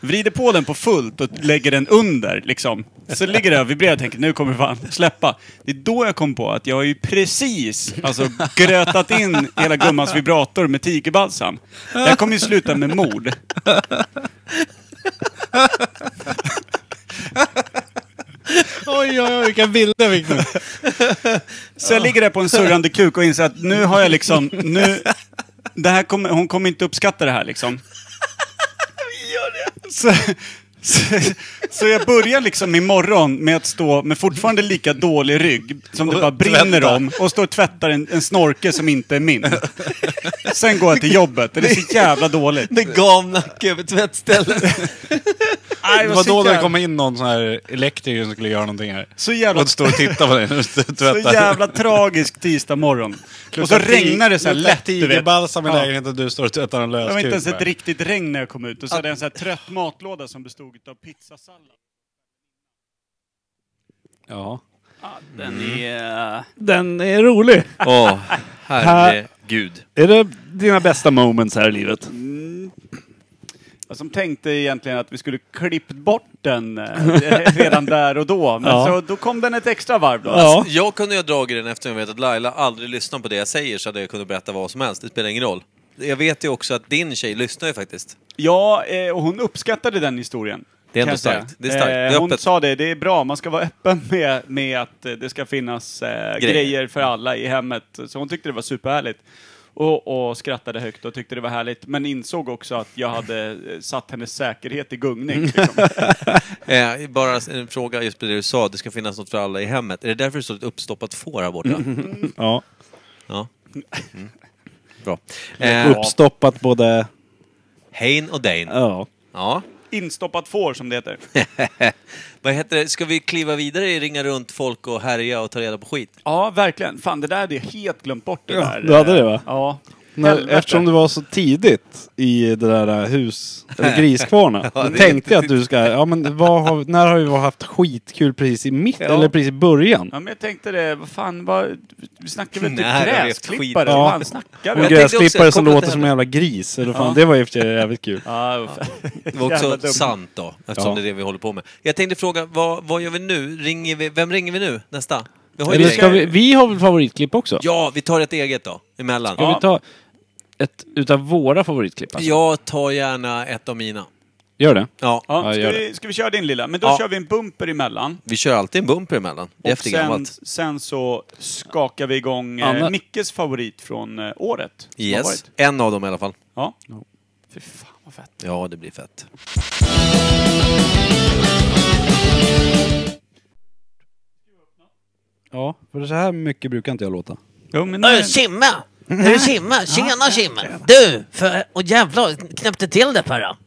Vrider på den på fullt och lägger den under liksom. Så ligger jag och vibrerar och tänker nu kommer det fan släppa. Det är då jag kom på att jag har ju precis alltså, grötat in hela gummans vibrator med tigerbalsam. Jag kommer ju sluta med mord.
Oj, oj, oj, vilka bilder fick du.
Så jag ligger där på en surrande kuk och inser att nu har jag liksom, nu, det här kommer, hon kommer inte uppskatta det här liksom. Så, så, så jag börjar liksom imorgon med att stå med fortfarande lika dålig rygg som det bara brinner om och står och tvättar en, en snorke som inte är min. Sen går jag till jobbet och det är så jävla dåligt.
Med gamnacke över tvättstället.
Aj,
Det
jag
var
så
då det
jävla-
kom in någon sån här elektriker som skulle göra någonting här.
Så jävla
Och stå och titta på dig när du
Så
tvättar.
jävla tragisk tisdag morgon. Och så regnar det så här lätt, du vet.
Tigerbalsam i
Ja.
lägenheten och du står och tvättar en
Det var inte ens
löskuk.
ett
bara.
riktigt regn när jag kom ut. Och så hade jag en så här trött matlåda som bestod av pizzasallad.
Ja.
Den är...
Den är rolig.
Åh, herregud.
Är det dina bästa moments här i livet?
Jag som tänkte egentligen att vi skulle klippt bort den eh, redan där och då. Men
Ja.
så, då kom den ett extra varv då.
Ja.
Jag kunde ju ha dragit den eftersom jag vet att Laila aldrig lyssnar på det jag säger så hade jag kunnat berätta vad som helst. Det spelar ingen roll. Jag vet ju också att din tjej lyssnar ju faktiskt.
Ja, eh, och hon uppskattade den historien.
Det är
kan
ändå
jag säga.
starkt. Det är starkt. Det är
Eh, hon
öppet.
sa det, det är bra, man ska vara öppen med, med att eh, det ska finnas eh, grejer. för alla i hemmet. Så hon tyckte det var superhärligt. Och, och skrattade högt och tyckte det var härligt, men insåg också att jag hade eh, satt hennes säkerhet
*laughs*
i gungning. Liksom.
Eh, bara en fråga just på det du sa, det ska finnas något för alla i hemmet. Är det därför det står ett uppstoppat får här borta?
Mm. ja.
Ja. Mm.
*laughs*
Bra. Eh,
Uppstoppat både...
hein och Dein.
Ja.
Ja.
Instoppat får, som det heter.
Vad heter det? Ska vi kliva vidare i ringa runt folk och härja och ta reda på skit?
Ja, verkligen. Fan, det där hade jag helt glömt bort. Det
Ja,
där.
du hade det, va?
Ja.
När,
Helvete.
eftersom det var så tidigt i det där eh,
*laughs*
hus... Eller griskvarna. då tänkte jag att du ska... Ja, men vad har, vi- när har vi haft skitkul precis i mitt
Ja.
Eller precis i början?
Ja, men jag tänkte det, vad fan, vad, vi snackar väl inte
Nej, det har vi haft skit.
gräsklippare? Vad fan snackar
Och
Jag
vi om?
tänkte också,
gräsklippare som
kopplat
låter
till
som en
henne.
jävla gris. Eller fan,
Ja.
Det var ju i och för sig jävligt kul.
Ja, vad fan.
Det var
Jävla
också
dum.
sant då, eftersom
Ja.
det är det vi håller på med. Jag tänkte fråga, vad, vad gör vi nu? Ringer vi, vem ringer vi nu? Nästa? Vi har ju
Eller
ett
ska
gäng.
vi... Vi har väl favoritklipp också?
Ja, vi tar ett eget då, emellan.
Ska vi ta ett utav våra favoritklipp? Alltså?
Jag tar gärna ett av mina.
Gör det.
Ja,
Ja,
Ja, ska,
gör
vi, ska vi köra din lilla? Men då
Ja.
kör vi en bumper emellan.
vi kör alltid en bumper emellan. Det är
Och sen,
eftergammalt.
sen så skakar vi igång eh,
Anna-
Mickes favorit från eh, året. som har
Yes,
varit.
en av dem i alla fall.
Ja. Fy fan vad fett.
Ja, det blir fett.
Ja, för så här mycket brukar inte jag låta.
Jo, men
Ö, Kimma! Du
Mm-hmm.
Kimma! Tjena Kimma! Du! För, och jävlar, knäppte till det Perra!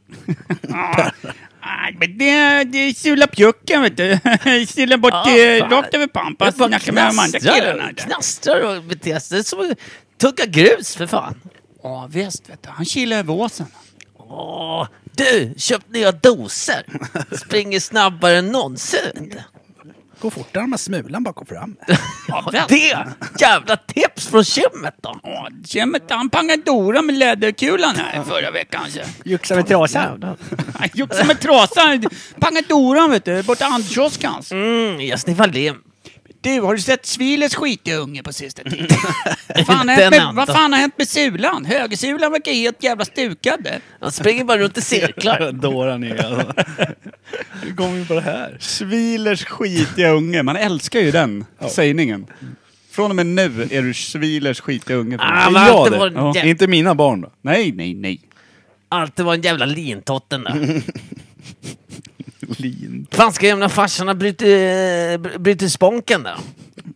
men det, det sula pjucken vet du. Sula bort
Ja, eh, fan. rakt
över pampas.
knastrar och beter sig som att tugga grus för fan!
Ja visst vet du, han kilar över åsen.
Åh, du! Köpt nya doser! Springer snabbare än någonsin! vet du.
Gå fortare med smulan bak och fram.
Ja, det! Jävla tips från Kimmet då!
Kemet han pangade Dora med läderkulan här förra veckan. så.
Juxa med trasan.
*laughs* Han gick som en trasa. Han Pangade Dora vet du, borta i handkiosken. hans.
Mm, jag sniffar lem.
Du, har du sett Sviles skitiga unge på sista tiden?
Den
fan har hänt med,
änden.
vad fan har hänt med sulan? Högersulan verkar helt jävla stukad.
Han springer bara runt
*laughs*
i cirklar.
Dåran är alltså. Hur kom vi på det här?
Svilers skitiga unge. Man älskar ju den sägningen. Från och med nu är du Svilers skitiga unge.
Ah,
Är
men
jag
alltid
det?
var en
Ja.
jävla-
Inte mina barn då?
Nej, nej, nej.
Alltid var en jävla lintotten där.
Lin.
Fan ska jävla farsan ha brutit, eh, brutit sponken där?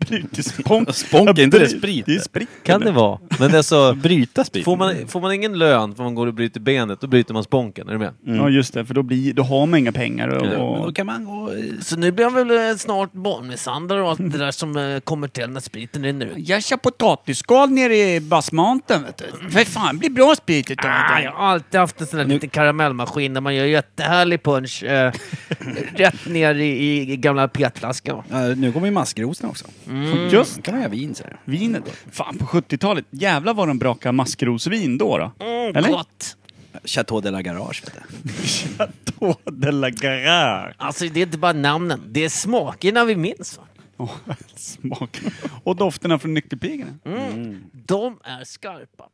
Brytespomp.
Sponk, är inte det sprit?
Det är sprit.
Kan det vara? Men *laughs* alltså,
Bryta sprit?
får man, får man ingen lön för man går och bryter benet, då bryter man sponken. Är du med?
Ja, just det. För då, blir, då har man inga pengar.
Men
Och,
då
och,
kan man gå... eh,
Så nu blir han väl eh, snart barnmisshandlare och allt det där som eh, kommer till när spriten rinner ut.
jag kör potatisskal nere i basmanten vet du. För fan, det blir bra sprit utav
Ah,
det.
jag har alltid haft en sån där liten karamellmaskin där man gör jättehärlig punch eh, *laughs* rätt ner i, i gamla petflaskan.
Ja, nu kommer ju maskrosen också.
Mm.
Just
Då kan man göra vin säger
vinet då. Fan, på 70-talet. Jävlar vad de brakade maskrosvin då. då.
Mm,
Mm.
Eller?
Gott!
jag. Chateau de la Garage vet du.
*laughs*
Chateau de la Garage.
Alltså det är inte bara namnen, det är smakerna vi minns. va?
Åh, Smak. *laughs* Och dofterna från nyckelpigorna.
Mm. De är skarpa.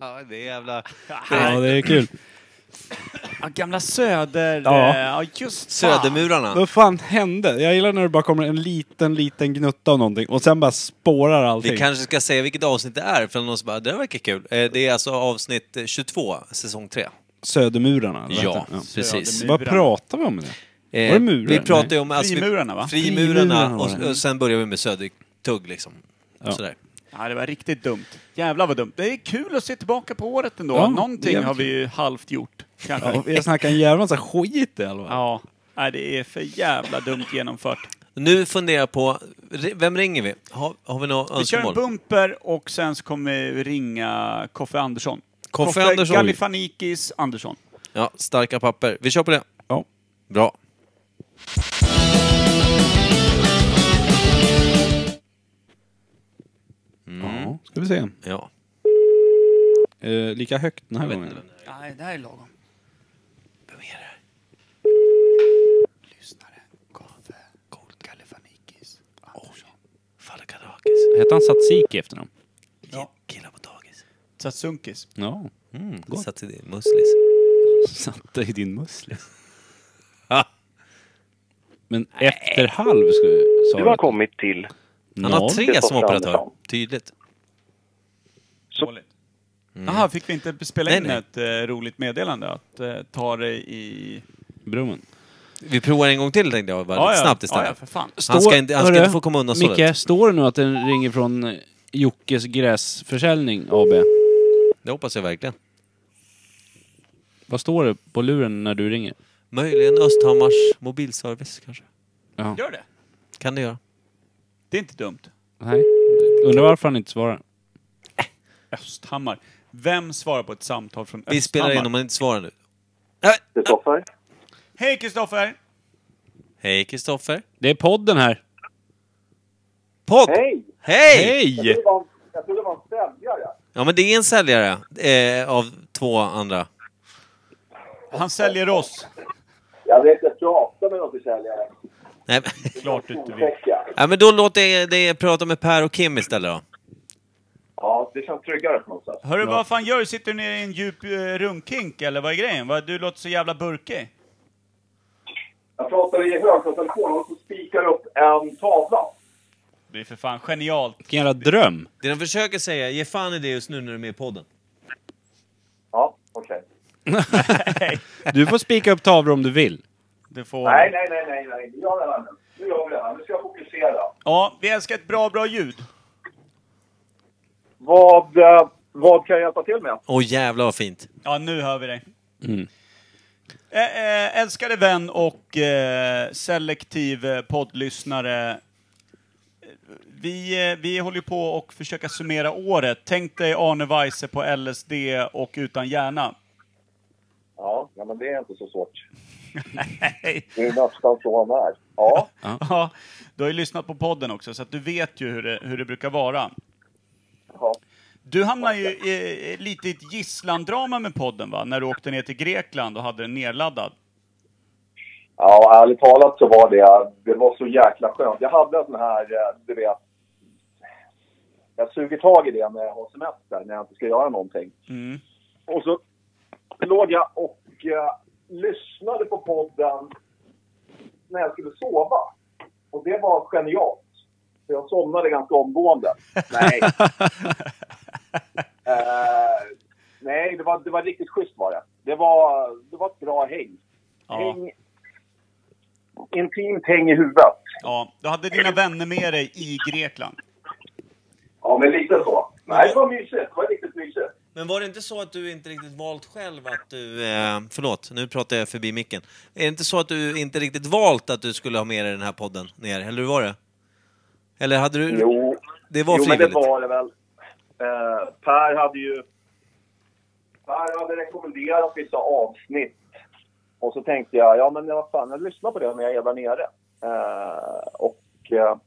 Ja, det är jävla...
Ja, det är kul.
Ja, gamla Söder...
Ja.
eh, ja just fan.
Södermurarna.
Vad fan hände? Jag gillar när det bara kommer en liten, liten gnutta av någonting och sen bara spårar allting.
Vi kanske ska säga vilket avsnitt det är, för någon som bara, det där verkar kul. Eh, Det är alltså avsnitt eh, 22, säsong 3.
Södermurarna. eller vad
Ja,
heter det?
precis. Eh,
Vad pratar vi om nu? Var det murar?
vi pratar ju om... vi-
Frimurarna, va?
Frimurarna
Frimurarna,
var det.
och, och sen börjar vi med Södertugg liksom. Sådär.
Ja, det var riktigt dumt. Jävlar vad dumt. Det är kul att se tillbaka på året ändå.
Ja, det är
Någonting
jävligt
har vi ju halvt gjort. Kanske.
Ja, vi har snackat en jävla massa skit i alla fall.
Ja. Nej, det är för jävla dumt genomfört.
Nu funderar jag på, re- vem ringer vi? Har, har vi något
Vi kör en
önskemål?
bumper och sen så kommer vi ringa Koffe Andersson.
Koffe Andersson.
Galifanikis Andersson.
Ja, starka papper. Vi kör på det.
Ja.
Bra.
Ja, ska vi se.
Ja.
Eh, lika högt den här
vet
gången.
inte
Nej, det här är lagom. Vem är det här? Lyssnare. Koffe. Coolt. Galifanikis. Andersson.
Falakadakis.
Hette han Satsiki efter dem?
Ja.
Killar på dagis.
Satsunkis.
Ja.
Mm, *laughs* satt i din muslis.
Satte i din muslis.
Ha.
Men efter halv ska vi... sa
Du har kommit till...
Han
Noll.
har tre
Koffe
som operatör.
Andersson.
Tydligt.
Dåligt. Jaha, fick vi inte spela
Mm. Nej,
in
nej.
ett eh, roligt meddelande? Att eh, ta det i...
Brummen.
Vi provar en gång till tänkte jag. Bara lite snabbt
Ja, ja,
istället.
för fan.
Han ska inte- han ska inte få komma undan så
Micke,
lätt.
står det nu att den ringer från eh, Jockes gräsförsäljning AB?
Det hoppas jag verkligen.
Vad står det på luren när du ringer?
Möjligen Östhammars mobilservice kanske.
Ja.
Gör det.
Kan det göra.
Det är inte dumt.
Nej. Undrar varför han inte svarar.
Östhammar. Vem svarar på ett samtal från
Vi spelar in
Östhammar?
om han inte svarar nu. Äh!
Kristoffer?
Hej Kristoffer!
Hej Kristoffer.
Det är podden här.
Podd!
Hej!
Hej!
Hej!
Jag trodde det var en säljare.
Ja men det är en säljare eh, av två andra.
Han säljer oss.
Jag vet inte prata med någon försäljare.
Nej, *laughs* men-
Klart du inte vill.
ja, men då låter jag dig prata med Per och Kim istället då.
Ja, det känns tryggare på något sätt.
Hörru, vad fan gör du? Sitter du nere i en djup eh, rumkink eller vad är grejen? Vad- Du låter så jävla burkig.
Jag pratar i högtalartelefon och så spikar upp en tavla.
Det är för fan genialt.
Vilken jävla dröm.
Det de försöker säga, ge fan i det just nu när du är med i podden.
Ja, okej.
Du får spika upp tavlor om du vill.
Du får...
Nej, nej, nej, nej, nej. Nu gör vi det här nu. Nu gör vi det här. Nu ska jag fokusera.
Ja, vi älskar ett bra, bra ljud.
Vad, eh, vad kan jag hjälpa till med?
Åh jävlar vad fint.
Ja, nu hör vi dig. Ä- ä, älskade vän och eh, selektiv eh, poddlyssnare. Eh, Vi, eh, vi håller ju på och försöka summera året. Tänk dig Arne Weise på LSD och utan hjärna.
Ja, jag men det är inte så svårt.
*laughs* Nej.
Det är nästan så han är. Ja.
Ja, du har ju lyssnat på podden också, så att du vet ju hur det, hur det brukar vara.
Ja.
Du hamnade ju i, i- lite i ett gisslandrama med podden, va? När du åkte ner till Grekland och hade den nedladdad.
Ja, ärligt talat så var det, det var så jäkla skönt. Jag hade en sån här, eh, du vet, jag suger tag i det när jag har semester, när jag inte ska göra någonting.
Mm.
Och så låg jag och eh, lyssnade på podden när jag skulle sova. Och det var genialt. För jag somnade ganska omgående. Nej. *laughs* Eh, nej, det var, det var riktigt schysst var det. Det var, det var ett bra häng. häng intimt häng i huvudet.
Ja, du hade dina vänner med dig i Grekland.
Ja, men lite så. Nej, det var mysigt. Det var riktigt mysigt.
Men var det inte så att du inte riktigt valt själv att du... Eh, förlåt, nu pratar jag förbi micken. Är det inte så att du inte riktigt valt att du skulle ha med dig den här podden ner? Eller hur var det? Eller hade du...
Jo.
Det var
jo, men det
frivilligt.
var det väl. Eh, per hade ju... Per hade rekommenderat vissa avsnitt. Och så tänkte jag, ja men vad fan, jag lyssnar på det när jag är där nere. Eh, och... eh,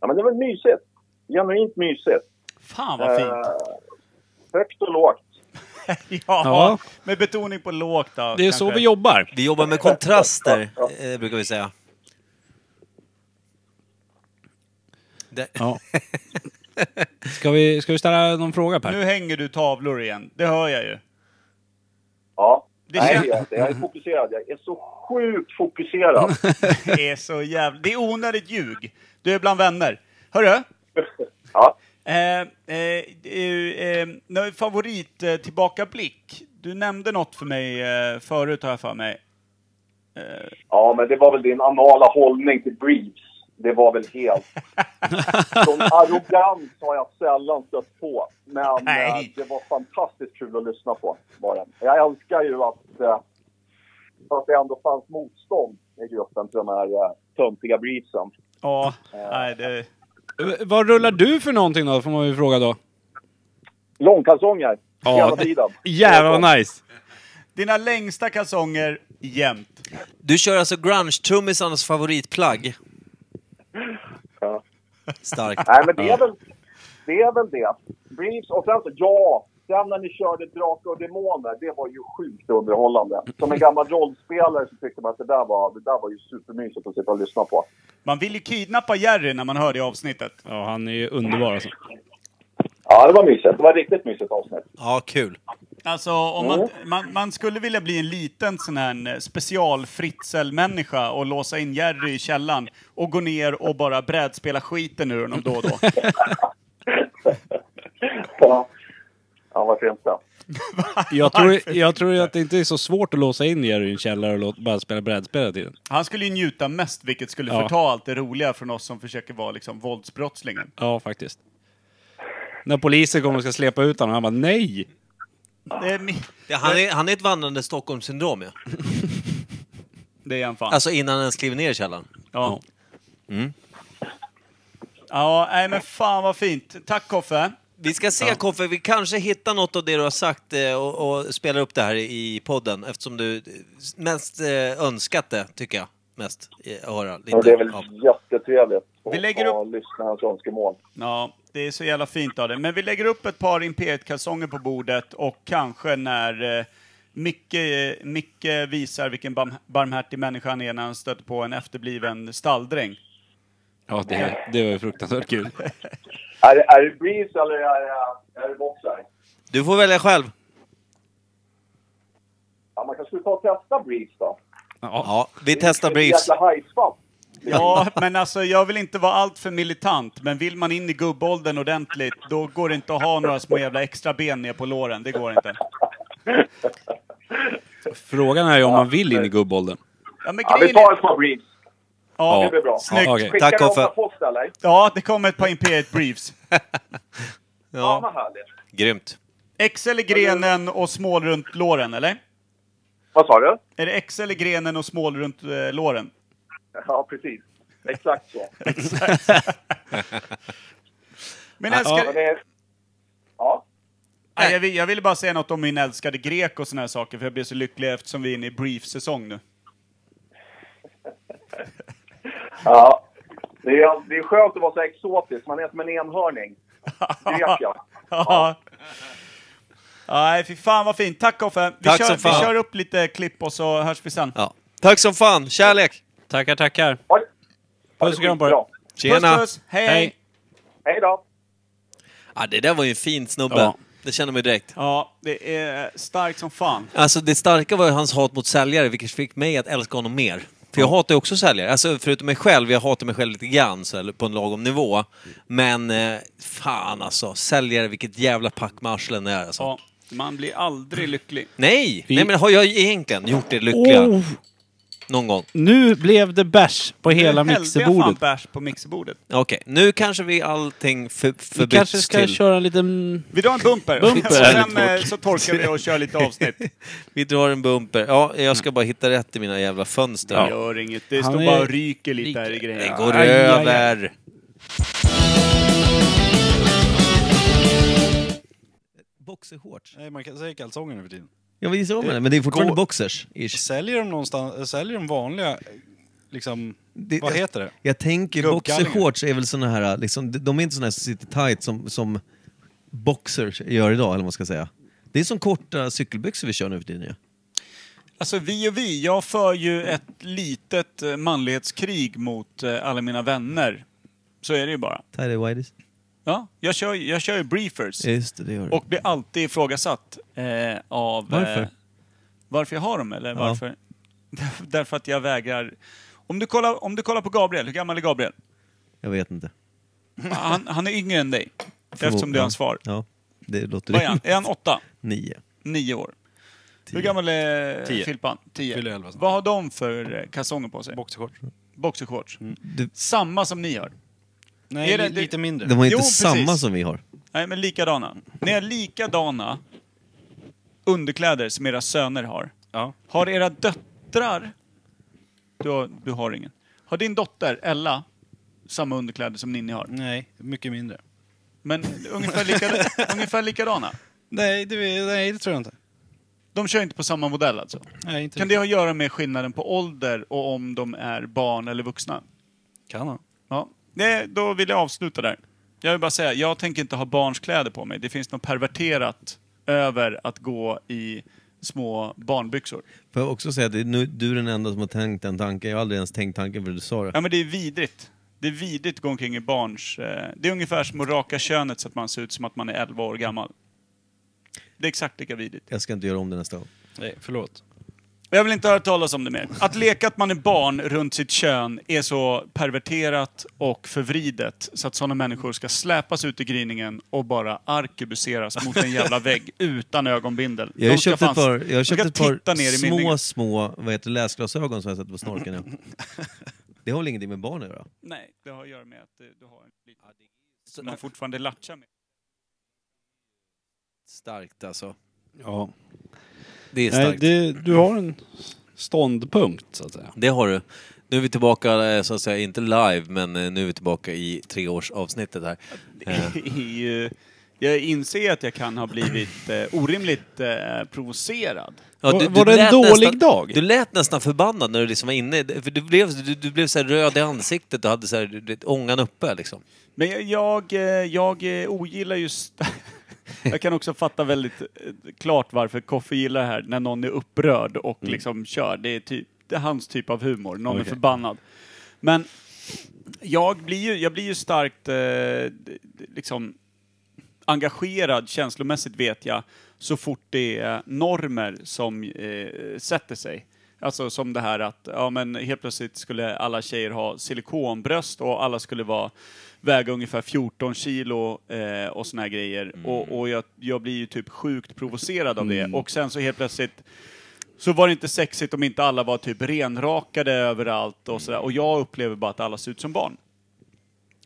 ja men det var mysigt. Genuint mysigt.
Fan vad fint!
Eh. högt och lågt.
*laughs* Ja,
Ja.
med betoning på lågt då.
Det är
kanske.
så vi jobbar. Vi jobbar med kontraster, eh, brukar vi säga. Det.
Ja. *laughs* Ska vi, ska vi ställa någon fråga Per?
Nu hänger du tavlor igen, det hör jag ju.
Ja.
Det
Nej,
kän-
jag, jag är fokuserad. Jag är så sjukt
*laughs*
fokuserad.
Det är så jävla... Det är onödigt ljug. Du är bland vänner. Hörru!
Ja.
Eh, eh, eh, eh, nå- favorit eh, tillbakablick. Du nämnde något för mig eh, förut har jag för mig.
Ja, men det var väl din anala hållning till briefs. Det var väl helt... Sån arrogans har jag sällan stött på. Men
Nej.
eh, det var fantastiskt kul att lyssna på. Var det. Jag älskar ju att, eh, att det ändå fanns motstånd i gruppen till de här eh, töntiga briefsen.
Ja, nej det...
V- Vad rullar du för någonting då, får man ju fråga då?
Långkalsonger, hela
det-
tiden.
Jävlar vad nice!
Dina längsta kalsonger jämt.
Du kör alltså grunge-trummisarnas favoritplagg.
Ja.
Starkt.
Nej, men det är väl det. Är väl det. Briefs och sen så, ja, sen när ni körde Drakar och Demoner, det var ju sjukt underhållande. Som en gammal rollspelare så tyckte man att det där var, det där var ju supermysigt att sitta och lyssna på.
Man vill ju kidnappa Jerry när man hör det avsnittet.
Ja, han är ju underbar alltså.
Ja, det var mysigt. Det var riktigt mysigt avsnitt.
Ja, kul.
Alltså, om man,
Mm.
man, man skulle vilja bli en liten sån här eh, specialfritzelmänniska och låsa in Jerry i källaren och gå ner och bara brädspela skiten ur honom då och då.
Ja, ja vad fint det.
Jag tror, jag tror ju att det inte är så svårt att låsa in Jerry i en källare och låta, bara spela brädspel hela tiden.
Han skulle ju njuta mest, vilket skulle
Ja.
förta allt det roliga från oss som försöker vara liksom våldsbrottslingen.
Ja, faktiskt. När polisen kommer och ska släpa ut honom, han bara nej!
Det är, mi-
Det- Han är, han är ett vandrande Stockholmssyndrom ju.
det är han fan.
Alltså innan han ens kliver ner i källaren.
ja. Ja, nej men fan vad fint. Tack Koffe.
Vi ska se Koffe, vi kanske hittar något av det du har sagt eh, och, och spelar upp det här i podden eftersom du eh, mest eh, önskat det, tycker jag. Mest eh, att höra lite
Och det är väl
av.
jättetrevligt att
Vi lägger
ta lyssnarnas önskemål.
Ja, det är så jävla fint av det. Men vi lägger upp ett par Imperiet-kalsonger på bordet och kanske när eh, Micke, eh, Micke visar vilken barm- barmhärtig människa han är när han stöter på en efterbliven stalldräng.
Ja, det, det var ju fruktansvärt kul.
Är, det- är det briefs eller är det, är det boxar?
Du får välja själv.
Ja, man kanske skulle ta och testa briefs då.
Ja, vi testar briefs.
Jävla hajsvamp.
Ja, men alltså jag vill inte vara allt för militant, men vill man in i gubbåldern ordentligt, då går det inte att ha några små jävla extra ben ner på låren. Det går inte.
Frågan är ju om man vill in i gubbåldern.
Ja, men
Ja, vi
grejen är...
tar ett par briefs.
Ja,
Det blir bra.
Snyggt.
Ja, okej.
Skickar
Tack,
du dem
Koffe.
per post eller?
ja, det kommer ett par Imperiet Briefs.
Ja,
Ja,
vad härligt.
grymt.
Excel i grenen och smål runt låren, eller?
Vad sa du?
Är det Excel i grenen och smål runt eh, låren?
Ja, precis. Exakt så.
Men
Men
älskar...
det är... Ja.
Nej, jag, vill, jag ville bara säga något om min älskade grek och såna här saker, för jag blev så lycklig eftersom vi är inne i brief-säsong nu.
Ja. Det är, det är skönt att vara så exotisk. Man är som en enhörning. *laughs* Det vet jag.
*laughs* Ja. Nej, fy fan vad fint. Tack Offe. Vi,
Tack
kör,
som
vi
fan.
kör upp lite klipp och så hörs vi sen.
Ja. Tack som fan, kärlek!
Tackar, tackar.
Ha det- ha det
Puss och kram på er.
skitbra.
Tjena!
Puss, puss. Hej,
Hej.
hej.
Hej då!
Ja, det där var ju en fin snubbe.
Ja.
Det känner man ju direkt.
Ja, det är starkt som fan.
Alltså det starka var ju hans hat mot säljare, vilket fick mig att älska honom mer. För jag hatar ju också säljare. Alltså förutom mig själv, jag hatar mig själv lite grann så, här, på en lagom nivå. Men eh, fan alltså, säljare, vilket jävla pack med arslen det är alltså.
Ja, man blir aldrig lycklig.
Nej!
Vi-
Nej men har jag egentligen gjort det lyckliga?
Oh,
Någon gång?
nu blev det bärs på hela
Nu hällde jag fan
mixerbordet.
bärs på mixerbordet.
Okej, nu kanske vi allting för,
Vi
förbyts
kanske ska
till...
köra en liten...
Vi drar en bumper.
Bumper.
Och
Jävligt
sen eh, så torkar vi och kör lite avsnitt.
Vi drar en bumper. Ja, jag
Mm.
ska bara hitta rätt i mina jävla fönster.
Det gör inget. Det
Han
står
är-
bara och ryker lite här i grejen.
Den går
Aj, aj, aj.
över. Boxershorts?
Nej, man kan säga kalsonger nu för tiden.
Ja, vi om det, men det är
fortfarande
boxers.
Säljer de någonstans, säljer de vanliga, liksom,
Det-
vad heter det?
Jag tänker
Gubbgallingar.
boxershorts är väl såna här, liksom, de- de är inte såna här som sitter tight som, som boxers gör idag, eller vad man ska säga. Det är som korta cykelbyxor vi kör nu för tiden ju.
Alltså vi och vi, jag för ju ett litet eh, manlighetskrig mot eh, alla mina vänner. Så är det ju bara.
Tidy whities.
Ja, jag kör, ju- jag kör ju briefers.
Ja, just det, det gör du.
Och blir alltid ifrågasatt eh, av...
Varför?
Eh, varför jag har dem eller varför? *laughs* Därför att jag vägrar... Om du, kollar, om du kollar på Gabriel, hur gammal
*laughs*
är Gabriel?
Jag vet inte.
Han, han är yngre än dig. Eftersom det är hans svar.
Ja, det låter
Vad är han? Är han åtta?
*laughs* Nio.
Nio år.
Tio.
Hur gammal är
Tio.
Filpan? Tio.
Fyller elva snart.
Vad har de för eh, kalsonger på sig?
Boxershorts?
Boxershorts.
Du-
Samma som ni har.
Mm. Nej,
Är det-
li- lite mindre.
De har inte
Jo, precis.
samma som vi har.
Nej, men likadana. Ni har likadana underkläder som era söner har.
Ja.
Har era döttrar... Du har, du har ingen. Har din dotter, Ella, samma underkläder som Ninni har?
Nej, mycket mindre.
Men ungefär, lika,
*laughs*
ungefär likadana?
Nej det, nej, det tror jag inte.
De kör inte på samma modell alltså?
Nej, inte
Kan det ha att göra med skillnaden på ålder och om de är barn eller vuxna?
kan ha.
Ja, det, då vill jag avsluta där. Jag vill bara säga, jag tänker inte ha barns kläder på mig. Det finns något perverterat över att gå i små barnbyxor.
Får jag också säga att det är nu, du är den enda som har tänkt den tanken. Jag har aldrig ens tänkt tanken för du sa det.
Ja, men det är vidrigt. Det är vidrigt att gå omkring i barns... Eh, det är ungefär som att raka könet så att man ser ut som att man är 11 år gammal. Det är exakt lika vidrigt.
Jag ska inte göra om det nästa gång.
Nej, förlåt.
Jag vill inte höra talas om det mer. Att leka att man är barn runt sitt kön är så perverterat och förvridet så att sådana människor ska släpas ut i gryningen och bara arkebuseras mot
*laughs*
en jävla vägg utan ögonbindel.
Jag har
De ska
köpt ett
fan-
par, jag har
de ska
köpt ett
titta ner
par
i
små,
mynningen.
små vad heter, det, läsglasögon som jag satt på snorken. *laughs* Ja. Det har väl ingenting med barn att göra?
Nej, det har att göra med att eh, du har en liten... Som man fortfarande latchar med.
Starkt alltså.
Ja.
Det är
Nej,
starkt. det...
det, du har en ståndpunkt, så att säga.
har du. Nu är vi tillbaka, eh, så att säga, inte live, men eh, nu är vi tillbaka i treårsavsnittet här.
*laughs* Det är ju... Jag inser att jag kan ha blivit eh, orimligt eh, provocerad.
Ja,
Var- var det en
lät
dålig
nästan,
dag?
Du lät nästan förbannad när du liksom var inne. För du blev, du, du blev så här röd i ansiktet och hade så här, du vet, ångan uppe liksom.
Men jag, jag, eh, jag eh, ogillar just... *laughs* jag kan också fatta väldigt eh, klart varför Koffe gillar det här, när någon är upprörd och liksom kör. Det är, typ, det är hans typ av humor, någon är förbannad. Men jag blir ju, jag blir ju starkt eh, d- d- liksom engagerad känslomässigt vet jag, så fort det är normer som eh, sätter sig. Alltså som det här att ja, men helt plötsligt skulle alla tjejer ha silikonbröst och alla skulle vara, väga ungefär 14 kilo eh, och såna här grejer. Och, och jag, jag blir ju typ sjukt provocerad av det. Och sen så helt plötsligt så var det inte sexigt om inte alla var typ renrakade överallt och sådär. Och jag upplever bara att alla ser ut som barn.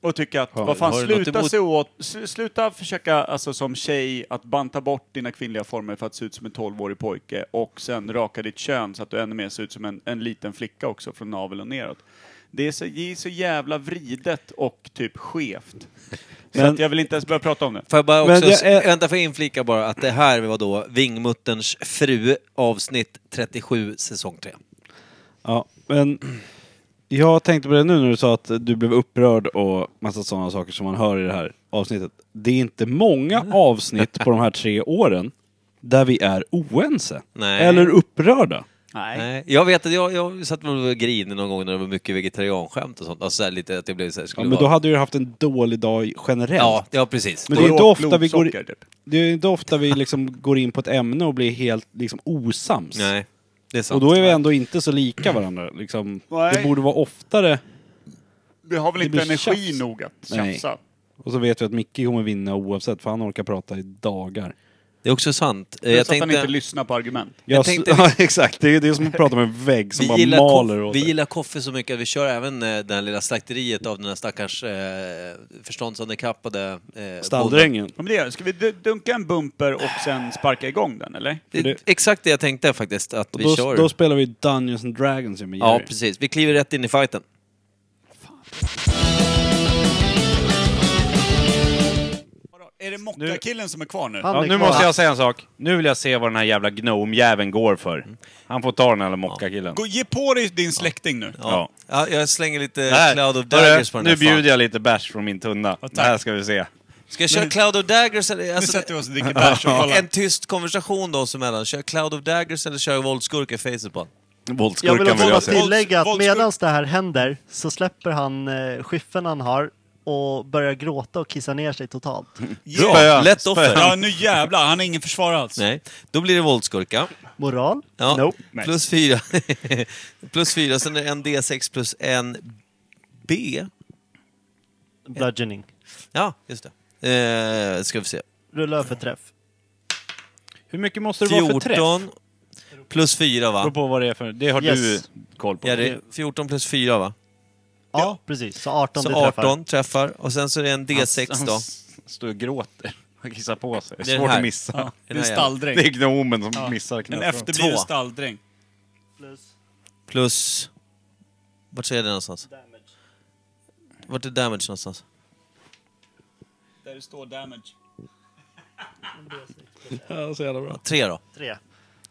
Och tycker att, vad fan,
har du något
sluta
emot-
se åt, sl- sluta försöka alltså, som tjej att banta bort dina kvinnliga former för att se ut som en 12-årig pojke och sen raka ditt kön så att du ännu mer ser ut som en, en liten flicka också från navel och neråt. Det är, så, det är så jävla vridet och typ skevt. Så att jag vill inte ens börja prata om det.
Får jag bara
Men
också,
jag är-
vänta får jag inflika bara att det här var då Vingmutterns fru avsnitt 37 säsong 3.
Ja, men jag tänkte på det nu när du sa att du blev upprörd och massa sådana saker som man hör i det här avsnittet. Det är inte många avsnitt på de här tre åren där vi är oense.
Nej.
Eller upprörda.
Nej. Jag vet att jag, jag satt väl och grinade någon gång när det var mycket vegetarianskämt och sånt. Alltså så här, lite att jag blev såhär,
Ja, men då hade du haft en dålig dag generellt.
ja, ja, precis.
Men det är,
Då
inte ofta vi går,
blodsocker, typ.
det är inte ofta vi liksom går in på ett ämne och blir helt liksom osams.
Nej, det är sant.
Och då är vi ändå inte så lika varandra. Liksom,
Nej.
det borde vara oftare.
Vi har väl
Det
inte
blir
energi
tjafs.
nog att
Nej.
tjafsa.
Och så vet vi att Micke kommer vinna oavsett, för han orkar prata i dagar.
Det är också sant. Eh,
Plus
Jag
att han inte
tänkte,
lyssnar på argument.
Jag
tänkte-
s- *laughs* ja, exakt. Det är, det är
*laughs*
som att prata med en vägg som
vi
bara
gillar,
maler
koff,
åt
vi
dig.
gillar koffe så mycket att vi kör även eh, det här lilla slakteriet av den här stackars eh, förståndshandikappade eh,
Stalldrängen.
Ja, men det gör vi. Ska vi du- dunka en bumper och sen sparka igång den, eller?
bonden. Det är exakt det jag tänkte faktiskt, att vi
Då,
kör.
då spelar vi Dungeons and Dragons ju med Jerry.
ja, precis. Vi kliver rätt in i fighten.
Är det mockakillen som är kvar nu?
Han
Ja,
är
nu
kvar.
måste jag säga en sak. Nu vill jag se vad den här jävla gnomjäveln går för.
Mm.
Han får ta den här mockakillen.
Gå, ge på dig din släkting nu.
Ja.
Ja, jag slänger lite
Här.
Cloud of
Hörru,
Daggers på den
Nu
här.
bjuder
Fan.
jag lite bärs från min tunna.
tack.
Det här ska vi se.
Ska jag köra Cloud of Daggers eller...
Nu
Alltså,
sätter vi oss och dricker bärs och kollar.
en tyst konversation då oss emellan. Kör Cloud of Daggers eller kör våldsskurk i facet på honom?
Våldskurkan
Jag vill
vill
också
jag se.
tillägga att
Våldskurk.
medan det här händer så släpper han eh, skyffen han har och börjar gråta och kissa ner sig totalt.
Spöa.
Lätt offer.
Ja, nu jävlar. Han har ingen försvar alls.
Nej, då blir det våldsskurka.
Moral?
Ja.
Nope.
Plus fyra. *laughs* plus fyra, sen är det en D6 plus en B.
Bludgeoning.
Ja, just det. Eh, ska vi se.
Rulla för träff.
Hur mycket måste det vara för träff?
14 plus fyra va?
Beror på vad det är för... Det har
Yes.
du koll på.
Ja, det är 14 plus fyra va?
Ja, precis. Så 18 du
Så
träffar.
18 träffar. Och sen så är det en D6
Han
då.
s- står och
*laughs*
gråter. Han kissar på sig. Det
Det är
är svårt
här.
att missa.
Det är en
Det
stalldräng.
är gnomen som missar
En
knappt.
efterbliven
Två.
stalldräng.
Plus
Plus... Vart är det någonstans?
damage.
Vart är damage någonstans?
Där det står damage.
Ja, så jävla bra.
Tre då.
3.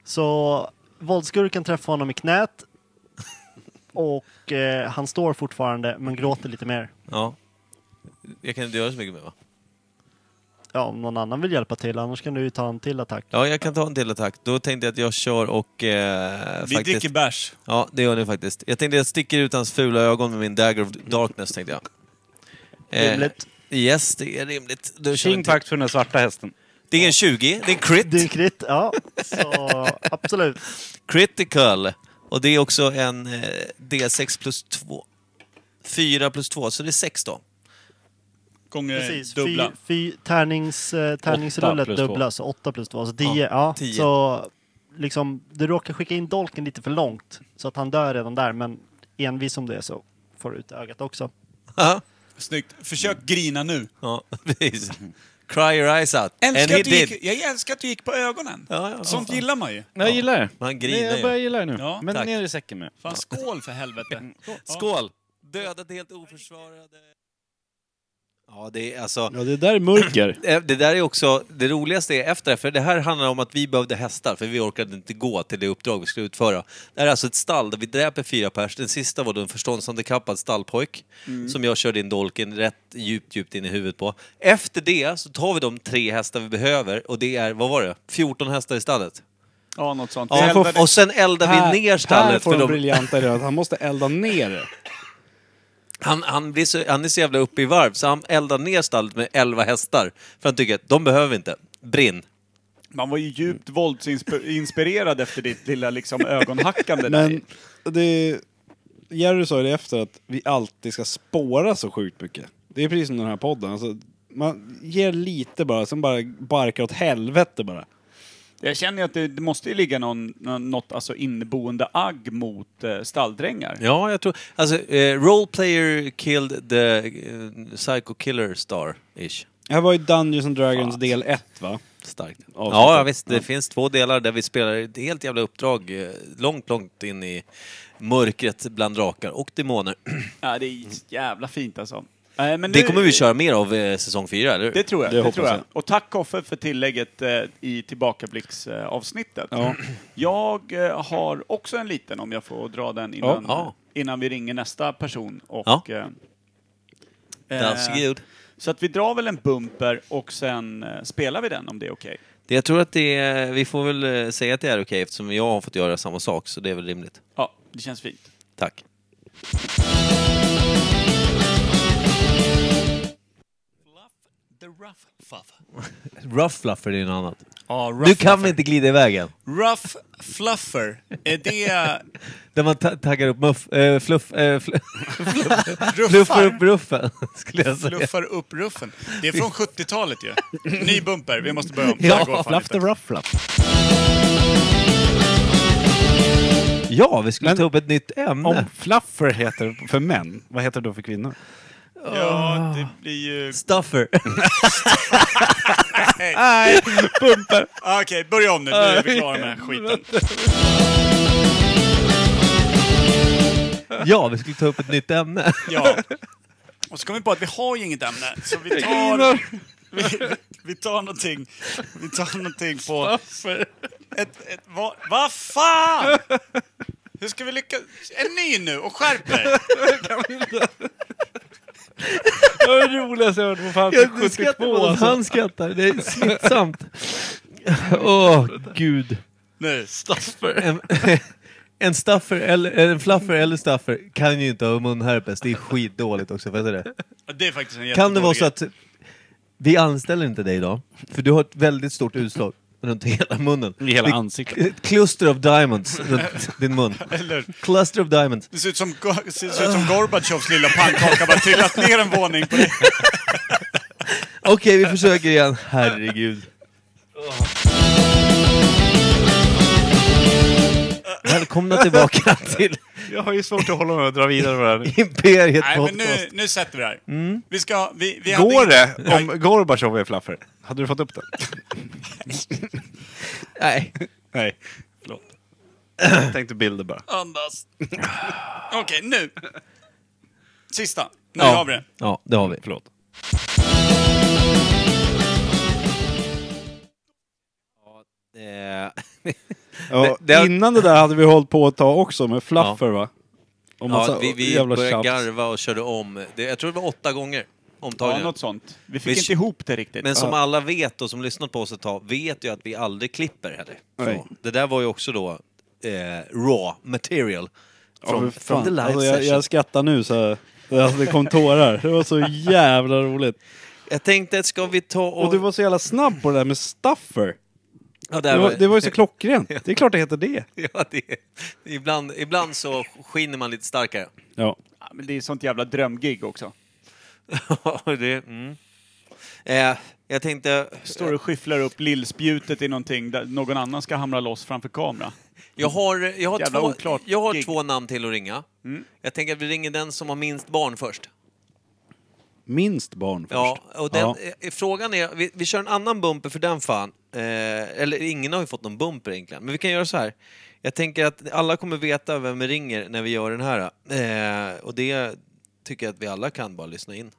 Så våldskurken träffar honom i knät. *laughs* Och eh, han står fortfarande men gråter lite mer.
Ja. Jag kan inte göra så mycket mer va?
Ja, om någon annan vill hjälpa till, annars kan du ju ta en till attack.
Ja, jag kan ta en till attack. Då tänkte jag att jag kör och... Eh,
Vi
faktiskt...
dricker bärs.
Ja, det gör ni faktiskt. Jag tänkte jag sticker ut hans fula ögon med min Dagger of Darkness, tänkte jag. Eh,
Rimligt.
Yes, det är rimligt. Då kör vi en
Tjing
till.
pack för den här svarta hästen.
Det är en 20, det är en crit.
Det är crit, ja. Så absolut.
Critical. Och det är också en eh, D6 plus 2. 4 plus 2, så det är 6 då.
Gånger
Precis.
dubbla.
Fy, fy, tärnings, eh,
Åtta
tärningsrullet
plus
dubblas, så 8 plus 2, så 10. Ja,
tio.
Så liksom, du råkar skicka in dolken lite för långt, så att han dör redan där, men envis som det är så får du ut ögat också.
Snyggt. Försök grina nu.
Ja, *laughs* precis. Cry your eyes out.
Älskar att
And
du
he did.
gick, jag älskar att du gick på ögonen.
Ja, ja,
Sånt
fan.
gillar man ju.
Jag gillar det.
Han griner
Det- Jag
ju.
börjar gilla det nu.
Ja,
Men
tack.
ner i säcken med.
Fan, skål för helvete.
Skål! Dödat helt oförsvarade... Ja, det är alltså...
Ja, det där är mörker.
Eh, Det där är också, det roligaste är efter, för det här handlar om att vi behövde hästar för vi orkade inte gå till det uppdrag vi skulle utföra. Det här är alltså ett stall där vi dräper fyra pers. Den sista var då en förståndshandikappad stallpojk
Mm.
som jag körde in dolken rätt djupt, djupt in i huvudet på. Efter det så tar vi de tre hästar vi behöver och det är, vad var det, 14 hästar i stallet.
Ja, något sånt.
Ja,
Helvete.
och sen eldar vi ner
här
stallet
får
för
den
de,
briljanta idén att han måste elda ner det.
han, han, blir så, han är så jävla uppe i varv så han eldar ner stallet med 11 hästar för han tycker att de behöver vi inte. Brinn!
Man var ju djupt våldsinspirerad efter ditt
*laughs*
lilla liksom ögonhackande där.
Men det... Jerry sa ju det efter att vi alltid ska spåra så sjukt mycket. Det är precis som den här podden. Alltså, man ger lite bara, sen bara barkar åt helvete bara.
Jag känner ju att det, det måste ju ligga någon, någon, något alltså inneboende agg mot eh, stalldrängar.
Ja, jag tror... Alltså, eh, role player killed the eh, psycho killer star-ish.
Det här var ju Dungeons and Dragons del 1 va?
Starkt.
Avsnittet.
Ja, ja, visst. Det finns två delar där vi spelar ett helt jävla uppdrag eh, långt, långt *clears throat* in i mörkret bland drakar och demoner.
Ja, det är jävla fint alltså. Nej, men
Mm. det
nu-
kommer vi köra mer av eh, säsong fyra, eller hur?
Det tror jag. Det, tror jag. Och tack Koffe för tillägget eh, i tillbakablicksavsnittet. Eh, avsnittet.
Ja.
Jag eh, har också en liten, om jag får dra den innan,
Ja.
innan vi ringer nästa person. Och,
Ja.
eh, eh,
Varsågod.
Så att vi drar väl en bumper och sen eh, spelar vi den om det är okej.
Det- Jag tror att det är, vi får väl eh, säga att det är okej eftersom jag har fått göra samma sak, så det är väl rimligt.
Ja, det känns fint.
Tack.
The rough fuff.
*laughs* Rough fluffer är något annat.
Ja, rough
nu kan
fluffer.
vi inte glida iväg än.
Rough fluffer, är det...
Där man ta- taggar upp muff, eh, fluff... Eh, fl-
Ruffar.
fluffar upp ruffen, *laughs* skulle jag säga.
Fluffar upp ruffen. Det är från 70-talet ju. Ny bumper, vi måste börja om. Det här går
Ja,
fan inte.
rough fluff. Ja, vi skulle ta upp ett nytt ämne.
Om fluffer heter för män, vad heter det då för kvinnor?
Ja, det blir ju...
Stuffer. *laughs*
Nej, bumper. Ah, Okej, börja om nu. Nu är vi klara med den här skiten.
Ja, vi skulle ta upp ett nytt ämne.
Ja. Och så kom vi på att vi har ju inget ämne, så vi tar... Vi, vi- vi tar någonting... Vi tar någonting på... Ett, ett, vad, vad fan! Hur ska vi lyckas? En ny nu och skärp er!
Det var det roligaste jag hört på fan
Ja, du skrattar på att han skrattar. Det är smittsamt. *laughs* Åh, gud.
Nej, stuffer.
En, *laughs* en stuffer eller en fluffer eller stuffer kan ju inte ha munherpes. Det är skitdåligt också. Får jag säga det?
Ja, det är faktiskt en
Kan det vara
jättedålig
så att vi anställer inte dig idag? För du har ett väldigt stort utslag runt hela munnen.
I hela
Vi-
ansiktet.
Ett cluster of diamonds
*laughs*
runt din mun.
Eller-
Cluster of diamonds.
Det ser ut som, Go- ser ut som Gorbatjovs lilla pannkaka bara trillat ner en våning på dig.
Okej, vi försöker igen. Herregud. Välkomna tillbaka till
Jag har ju svårt att hålla mig och dra vidare med det här.
Imperiet
Nej, men nu, nu sätter vi det här.
Mm.
Vi ska... Vi, vi hade
Går
inget-
det om Gorbatjov är fluffer? Hade du fått upp den?
Nej.
*laughs* Nej. Förlåt. Jag tänkte bilder bara.
Andas. Okej, nu. Sista. Nu
Ja.
har vi det.
Ja, det har vi.
Förlåt. Ja, Innan det där hade vi hållit på ett tag också med fluffer va? Och massa
ja, vi vi
jävla
började
tjafs.
garva och körde om. Det, jag tror det var åtta gånger. Omtagningen.
Ja, något sånt. Vi fick inte ihop det riktigt.
Men som
Ja.
alla vet och som lyssnat på oss ett tag vet ju att vi aldrig klipper heller.
Nej.
Så, det där var ju också då eh, raw material. Från,
Ja, för
från
fan.
the live
alltså, jag,
session.
jag skrattar nu så här. alltså, det kom tårar. Det var så jävla roligt.
Jag tänkte att ska vi ta och...
Och du var så jävla snabb på det där med stuffer.
Ja, där
det, var,
var-
det var ju så klockrent. Det är klart det heter det.
*laughs* Ja, det, ibland, ibland så skiner man lite starkare.
Ja.
men det är sånt jävla drömgig också.
Ja, det... Mm. Eh, jag tänkte... eh,
Står och skyfflar upp lillspjutet i någonting där någon annan ska hamra loss framför kamera.
Jag har, jag har,
Jävla
två,
oklart
jag har
gig. Mm.
två namn till att ringa. Jag tänker att vi ringer den som har minst barn först.
Minst barn först.
Ja, och den,
Ja.
eh, Frågan är, vi, vi kör en annan bumper för den fan. Eh, eller ingen har ju fått någon bumper egentligen. Men vi kan göra så här. Jag tänker att alla kommer veta vem vi ringer när vi gör den här. Eh, och det tycker jag att vi alla kan bara lyssna in.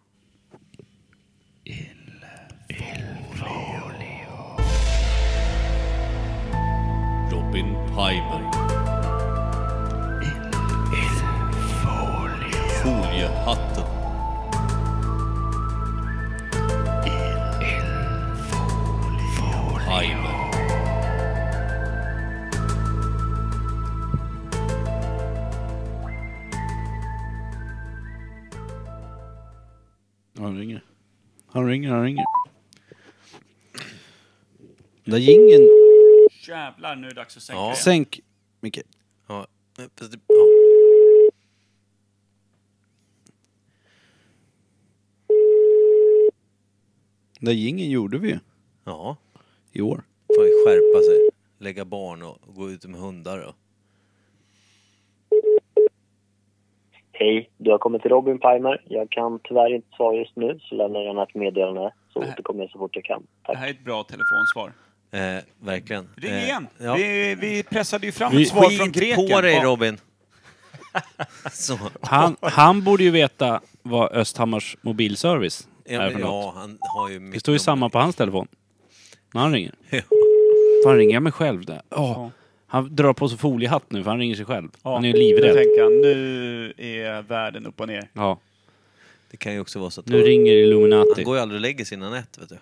Robin Pimer. Foliehatten. Pimer.
Han ringer. Han ringer, han ringer. Där gingen...
Jävlar, nu är det dags att sänka
Ja.
igen.
Sänk, Micke.
Ja. eh, fast det-
Där gingen gjorde vi ju.
Ja.
I år.
Får ju skärpa sig. Lägga barn och gå ut med hundar och...
Hej, du har kommit till Robin Pimer. Jag kan tyvärr inte svara just nu, så lämna gärna ett meddelande så återkommer jag så fort jag kan.
Det här är ett bra telefonsvar.
Eh, verkligen.
Ring
Eh,
igen!
ja.
Vi, vi pressade ju fram ett svar från greken. *laughs*
på dig
Ja.
Robin! Så.
Han, han borde ju veta vad Östhammars mobilservice
Ja,
är
men
för
ja,
något.
han har ju
Det
mitt
står ju
nummer.
samma på hans telefon. När han ringer. Fan, ringer jag mig själv där? Ja. Han drar på sig foliehatt nu för han ringer sig själv. Han är ju
Nu
livrädd.
tänker han, nu är världen upp och ner.
Ja.
Det kan ju också vara så att...
Nu ringer Illuminati.
Han går ju aldrig och lägger sig innan ett, vet du.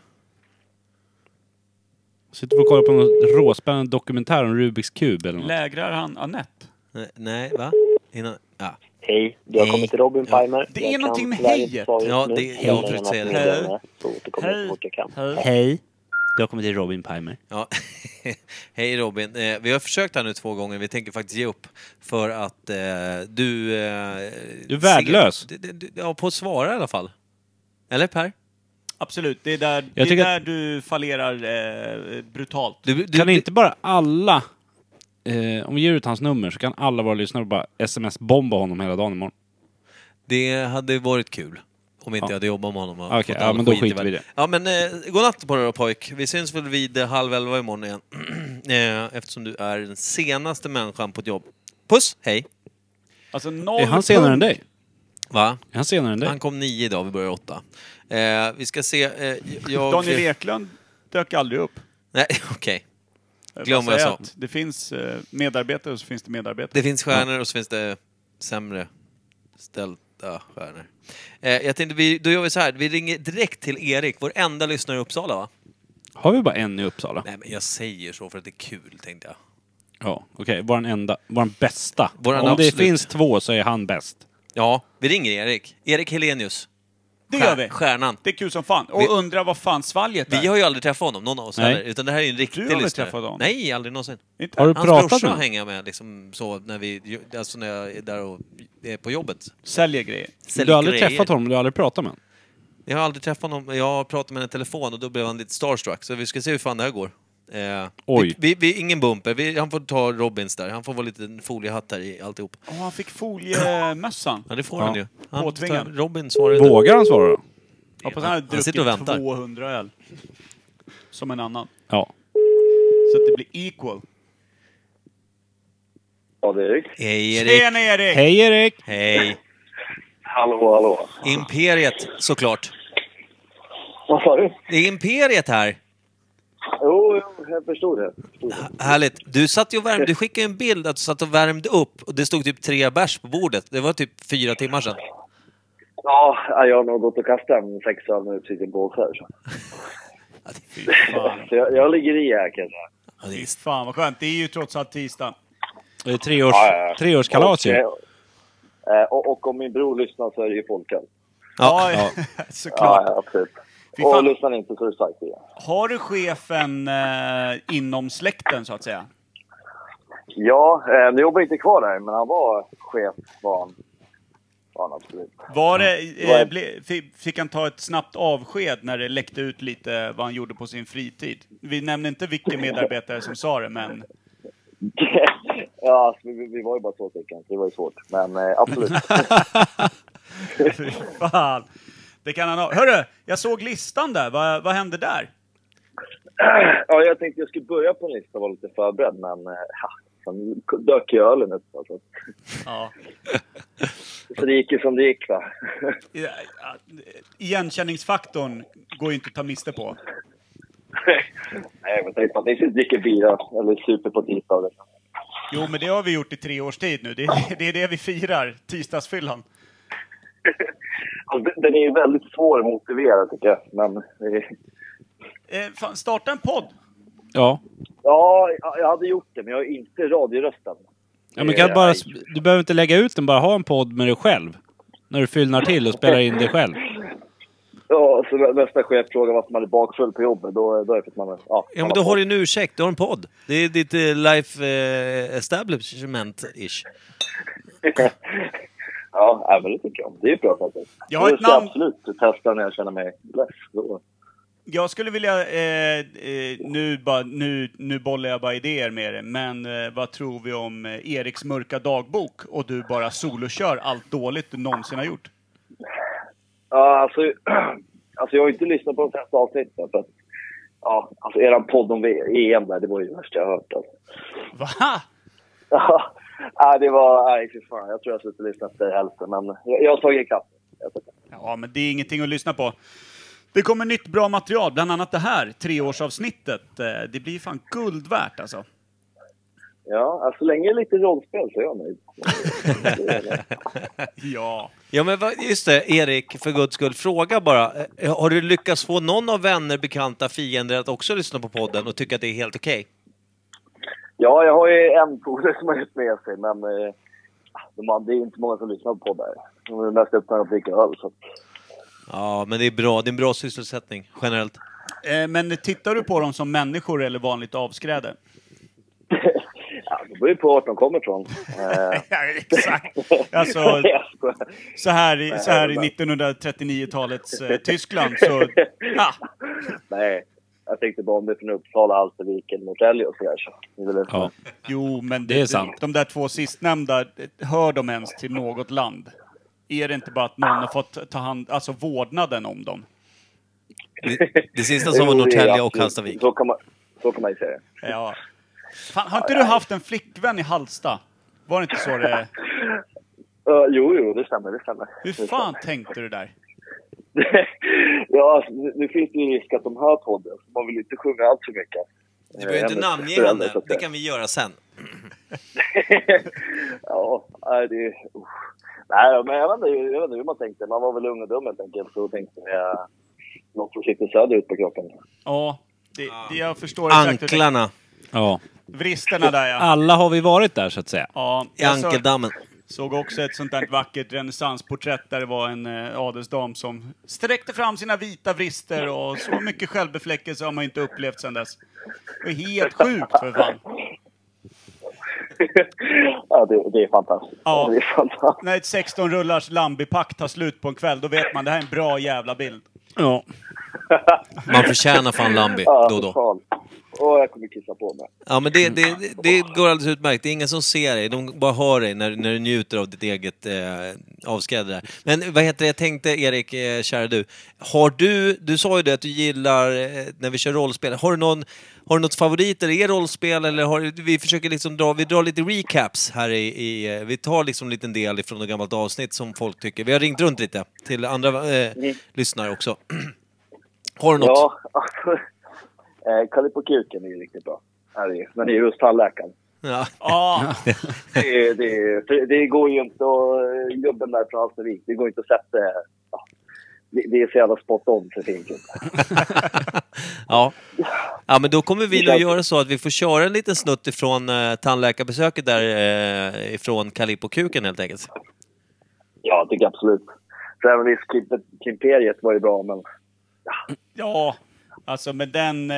Sitter och kollar på någon råspännande dokumentär om Rubiks kub eller något.
Lägrar han Anette?
Nej, Nej, va? Innan... Ja.
Hej, du har kommit till Robin Palmer.
Det
Jag
är
kan
någonting med
tyvärr inte
hejet.
svara
Eh,
just
Ja,
nu.
det-
Jag
jag
lämnar
försökte
gärna
säga
ett
det.
meddelande, Så återkommer jag så fort jag kan.
Hej. Du har kommit till Robin Palmer.
Ja. *laughs* Hej Robin. Eh, vi har försökt här nu två gånger, vi tänker faktiskt ge upp. För att eh, du... Eh,
Du är värdelös.
ser- d- d- d- Ja, på att svara i alla fall. Eller Per?
Absolut, det är där, det
Jag
är
tycker
där du fallerar eh, brutalt.
kan inte bara alla... Eh, om vi ger ut hans nummer så kan alla våra lyssnare bara sms-bomba honom hela dagen imorgon.
Det hade varit kul. Om inte
Ja.
jag hade jobbat med honom. och
Okej,
fått
ja,
all
men då
skit i
skiter vi i
världen. Ja, men eh, godnatt på dig då pojk. Vi syns väl vid eh, halv elva imorgon igen. *clears throat* eh, eftersom du är den senaste människan på ett jobb. Puss, hej!
Alltså noll
Är han senare än dig?
Va?
Är han senare än dig?
Han kom nio idag, vi börjar åtta. Eh, vi ska se... Eh, jag...
Daniel Eklund dök aldrig upp.
Nej, *laughs* okej.
Eh, Jag
Glöm
får
vad jag
säga
sa.
att Det finns eh, medarbetare och så finns det medarbetare.
Det finns stjärnor och så finns det sämre ställda stjärnor. Eh, jag tänkte, vi, då gör vi så här. Vi ringer direkt till Erik, vår enda lyssnare i Uppsala va?
Har vi bara en i Uppsala?
Nej, men jag säger så för att det är kul, tänkte jag.
Ja, okej. Våran enda. Våran bästa.
Våran
om
absolut.
det finns två så är han bäst.
Ja, vi ringer Erik. Erik Helenius.
Det
Stjär-
gör vi.
Stjärnan.
Det är kul som fan. Och
Vi-
undrar vad fan svalget är.
Vi har ju aldrig träffat honom, någon av oss
Nej.
heller. Utan det här är en riktig
aldrig
lyssnare.
träffat honom?
Nej, aldrig någonsin.
Inte? Har du
Hans
pratat
brorsa
med honom?
hänger jag med liksom så när vi, alltså när jag är där och är på jobbet.
Säljer grejer.
du har aldrig
grejer.
träffat honom, du har aldrig pratat med honom.
Jag har aldrig träffat honom. Jag har pratat med henne i telefon och då blev han lite starstruck. Så vi ska se hur fan det här går. Eh,
Oj.
Vi, vi, vi, ingen bumper. Vi, han får ta Robins där. Han får vara lite en foliehatt här i alltihop.
Åh, han fick foliemössan.
Ja, det får
Ja.
han ju. Han
Påtvingad.
tar- Robin svarar ju.
Vågar han svara då?
Hoppas han hade
Han sitter och
druckit
väntar.
200 öl. Som en annan.
Ja.
Så att det blir equal.
Ja, det är Erik.
Hej Erik!
Tjena Erik!
Hej Erik!
Hej!
Hallå, hallå.
Imperiet, såklart.
Vad sa du?
Det är Imperiet här.
Jo, jo, jag förstod det. Jag Förstod det.
Härligt. Du satt ju och värmde. Du skickade en bild att du satt och värmde upp och det stod typ tre bärs på bordet. Det var typ fyra timmar sedan.
Ja, jag har nog gått och kastat en sexa nu precis i Båtsjö. Så. så jag, jag ligger i här kan jag säga.
Fy fan vad skönt. Det är ju trots allt tisdag.
Det är treårs, treårskalas ju.
Och, eh, och, och om min bror lyssnar så är det ju folköl.
Ja,
ja.
*laughs* såklart.
Ja, absolut.
Fy
Och
fan.
lyssnar inte så är det starkt igen.
Har du chefen eh, inom släkten så att säga?
Ja, eh, nu jobbar jag inte kvar där, men han var chef var han. Var han absolut. *laughs*
Var det,
Var-
eh, ble, fi- fick han ta ett snabbt avsked när det läckte ut lite vad han gjorde på sin fritid? Vi nämnde inte vilken medarbetare som sa det, men *laughs*
ja, alltså, vi, vi var ju bara två stycken, så det var ju svårt. Men eh, absolut. *laughs*
fy fan. Det kan han ha. Hörru, jag såg listan där. Vad, vad hände där?
ja, jag tänkte jag skulle börja på en lista och vara lite förberedd, men eh, ja, sen dök ju ölen upp. Alltså.
Ja.
Så det gick ju som det gick va.
I- ja, Igenkänningsfaktorn går ju inte att ta miste på.
*laughs* Nej, men tänk på att ni sitter och dricker bira, eller super på tisdagen.
Jo, men det har vi gjort i tre års tid nu. Det, det är det vi firar, tisdagsfyllan.
Alltså, den- den är ju väldigt svår att motivera tycker jag. Men, eh,
Eh, fan, starta en podd!
Ja.
ja, jag hade gjort det, men jag har inte radiorösten. Eh,
ja men kan du bara, du behöver inte lägga ut den, bara ha en podd med dig själv. När du fyllnar till och spelar in dig själv.
Ja, så nä- nästa chef frågar varför man är bakfull på jobbet, då, då är det för att man... är- Ja,
Ja, men då har du en ursäkt. Du har en podd. Det är ditt eh, life eh, establishment-ish.
Ja, nej, men det tycker jag om. Det är ju bra faktiskt.
Jag har
Så
ett
jag ska
namn.
absolut testa när jag känner mig less. Då.
Jag skulle vilja, eh, eh, nu, bara, nu, nu bollar jag bara idéer med det, men eh, vad tror vi om eh, Eriks mörka dagbok och du bara solokör allt dåligt du någonsin har gjort?
Ja, alltså, *clears throat* alltså jag har ju inte lyssnat på de flesta avsnitten för att... Ja, alltså eran podd om EM där, det var ju det värsta jag har hört alltså. *laughs*
Va?
Ja, nej, det var... Nej, fy fan. Jag tror jag har suttit och lyssnat på hälften, men jag, jag har tagit ikapp.
Ja, men det är ingenting att lyssna på. Det kommer nytt bra material, bland annat det här treårsavsnittet. Eh, Det blir fan guld värt alltså.
Ja, alltså, så länge det är lite rollspel så är jag nöjd.
*laughs* Ja.
Ja men vad- just det, Erik, för guds skull, fråga bara. Eh, Har du lyckats få någon av vänner, bekanta, fiender att också lyssna på podden och tycka att det är helt okej?
Ja, jag har ju en polare som har gett med sig, men eh, de andra, det är inte många som lyssnar på poddar. De är mest öppna att dricka öl. Så.
Ja, men det är bra. Det är en bra sysselsättning, generellt.
Eh, Men tittar du på dem som människor eller vanligt *laughs* avskräde?
Ja, det beror ju på vart de kommer ifrån. Eh,
Exakt.
*laughs*
*laughs* Alltså, så här i, så här i 1939-talets eh, Tyskland så... Ah.
Nej, jag tänkte bara om det är från Uppsala, Hallstaviken, Norrtälje och sådär. Så. det är väl-
Jo, men
Det är sant.
De, där två sistnämnda, hör de ens till något land? Är det inte bara att någon har fått ta hand, alltså vårdnaden om dem?
Det, det sista
*laughs*
som var Norrtälje och Hallstavik.
Så kan man, så kan man ju säga det.
Ja. Fan, har inte du haft en flickvän i Halsta? Var det inte så det...
Ja, jo, jo, det stämmer. Det stämmer.
Hur fan tänkte du där?
*laughs* Ja, alltså, nu nu finns det ju risk att de hör podden, så man vill inte sjunga allt för mycket. Eh,
Du behöver inte namnge henne. Det kan vi göra sen.
*laughs* Ja, nej, det... usch. Nej, men jag vet, inte, jag vet inte hur man tänkte. Man var väl ung och dum helt enkelt. Så tänkte jag eh, något som sitter söderut på kroppen. *laughs*
Ja, det, det jag förstår exakt hur det-
Anklarna.
Ja.
Vristerna där ja.
Alla har vi varit där så att säga.
Ja,
I
jag såg-
ankeldammen.
Såg också ett sånt där vackert renässansporträtt där det var en eh, adelsdam som sträckte fram sina vita vrister och så mycket självbefläckelse har man inte upplevt sedan dess. Det är helt sjukt för fan.
Ja, det, det är fantastiskt.
Ja.
Det är fantastiskt.
När ett 16 rullars lambipack tar slut på en kväll, då vet man det här är en bra jävla bild.
Ja.
Man förtjänar fan Lambi,
Ja,
då och då.
fan. Åh, jag kommer kissa på mig.
Ja, men det, det, det, det går alldeles utmärkt. Det är ingen som ser dig, de bara hör dig när, när du njuter av ditt eget eh, avskräde där. Men vad heter det, jag tänkte Erik, eh, kära du. Har du, du sa ju det att du gillar eh, när vi kör rollspel. Har du, någon, har du något favorit eller är rollspel eller har, du- vi försöker liksom dra, vi drar lite recaps här i, i eh, vi tar liksom en liten del ifrån något gammalt avsnitt som folk tycker. Vi har ringt runt lite till andra eh, lyssnare också. *clears throat* har du något?
Ja, *laughs* alltså, eh, Kalle på kuken är ju riktigt bra. Ja, det är- Men det är just tandläkaren.
Ja.
Det, är- det, är- för det går ju inte att... Gubben där från Hallstavik, det går inte att sätta... ja. Det, det är så jävla spot on för finken.
Ja. ja, men då kommer vi
Det
nog
känns-
göra så att vi får köra en liten snutt ifrån eh, tandläkarbesöket där eh, ifrån Kalippo-kuken helt enkelt.
Ja, jag tycker absolut. Så även visst, Kim- Kimperiet var ju bra, men... *laughs*
Ja, alltså med den... eh,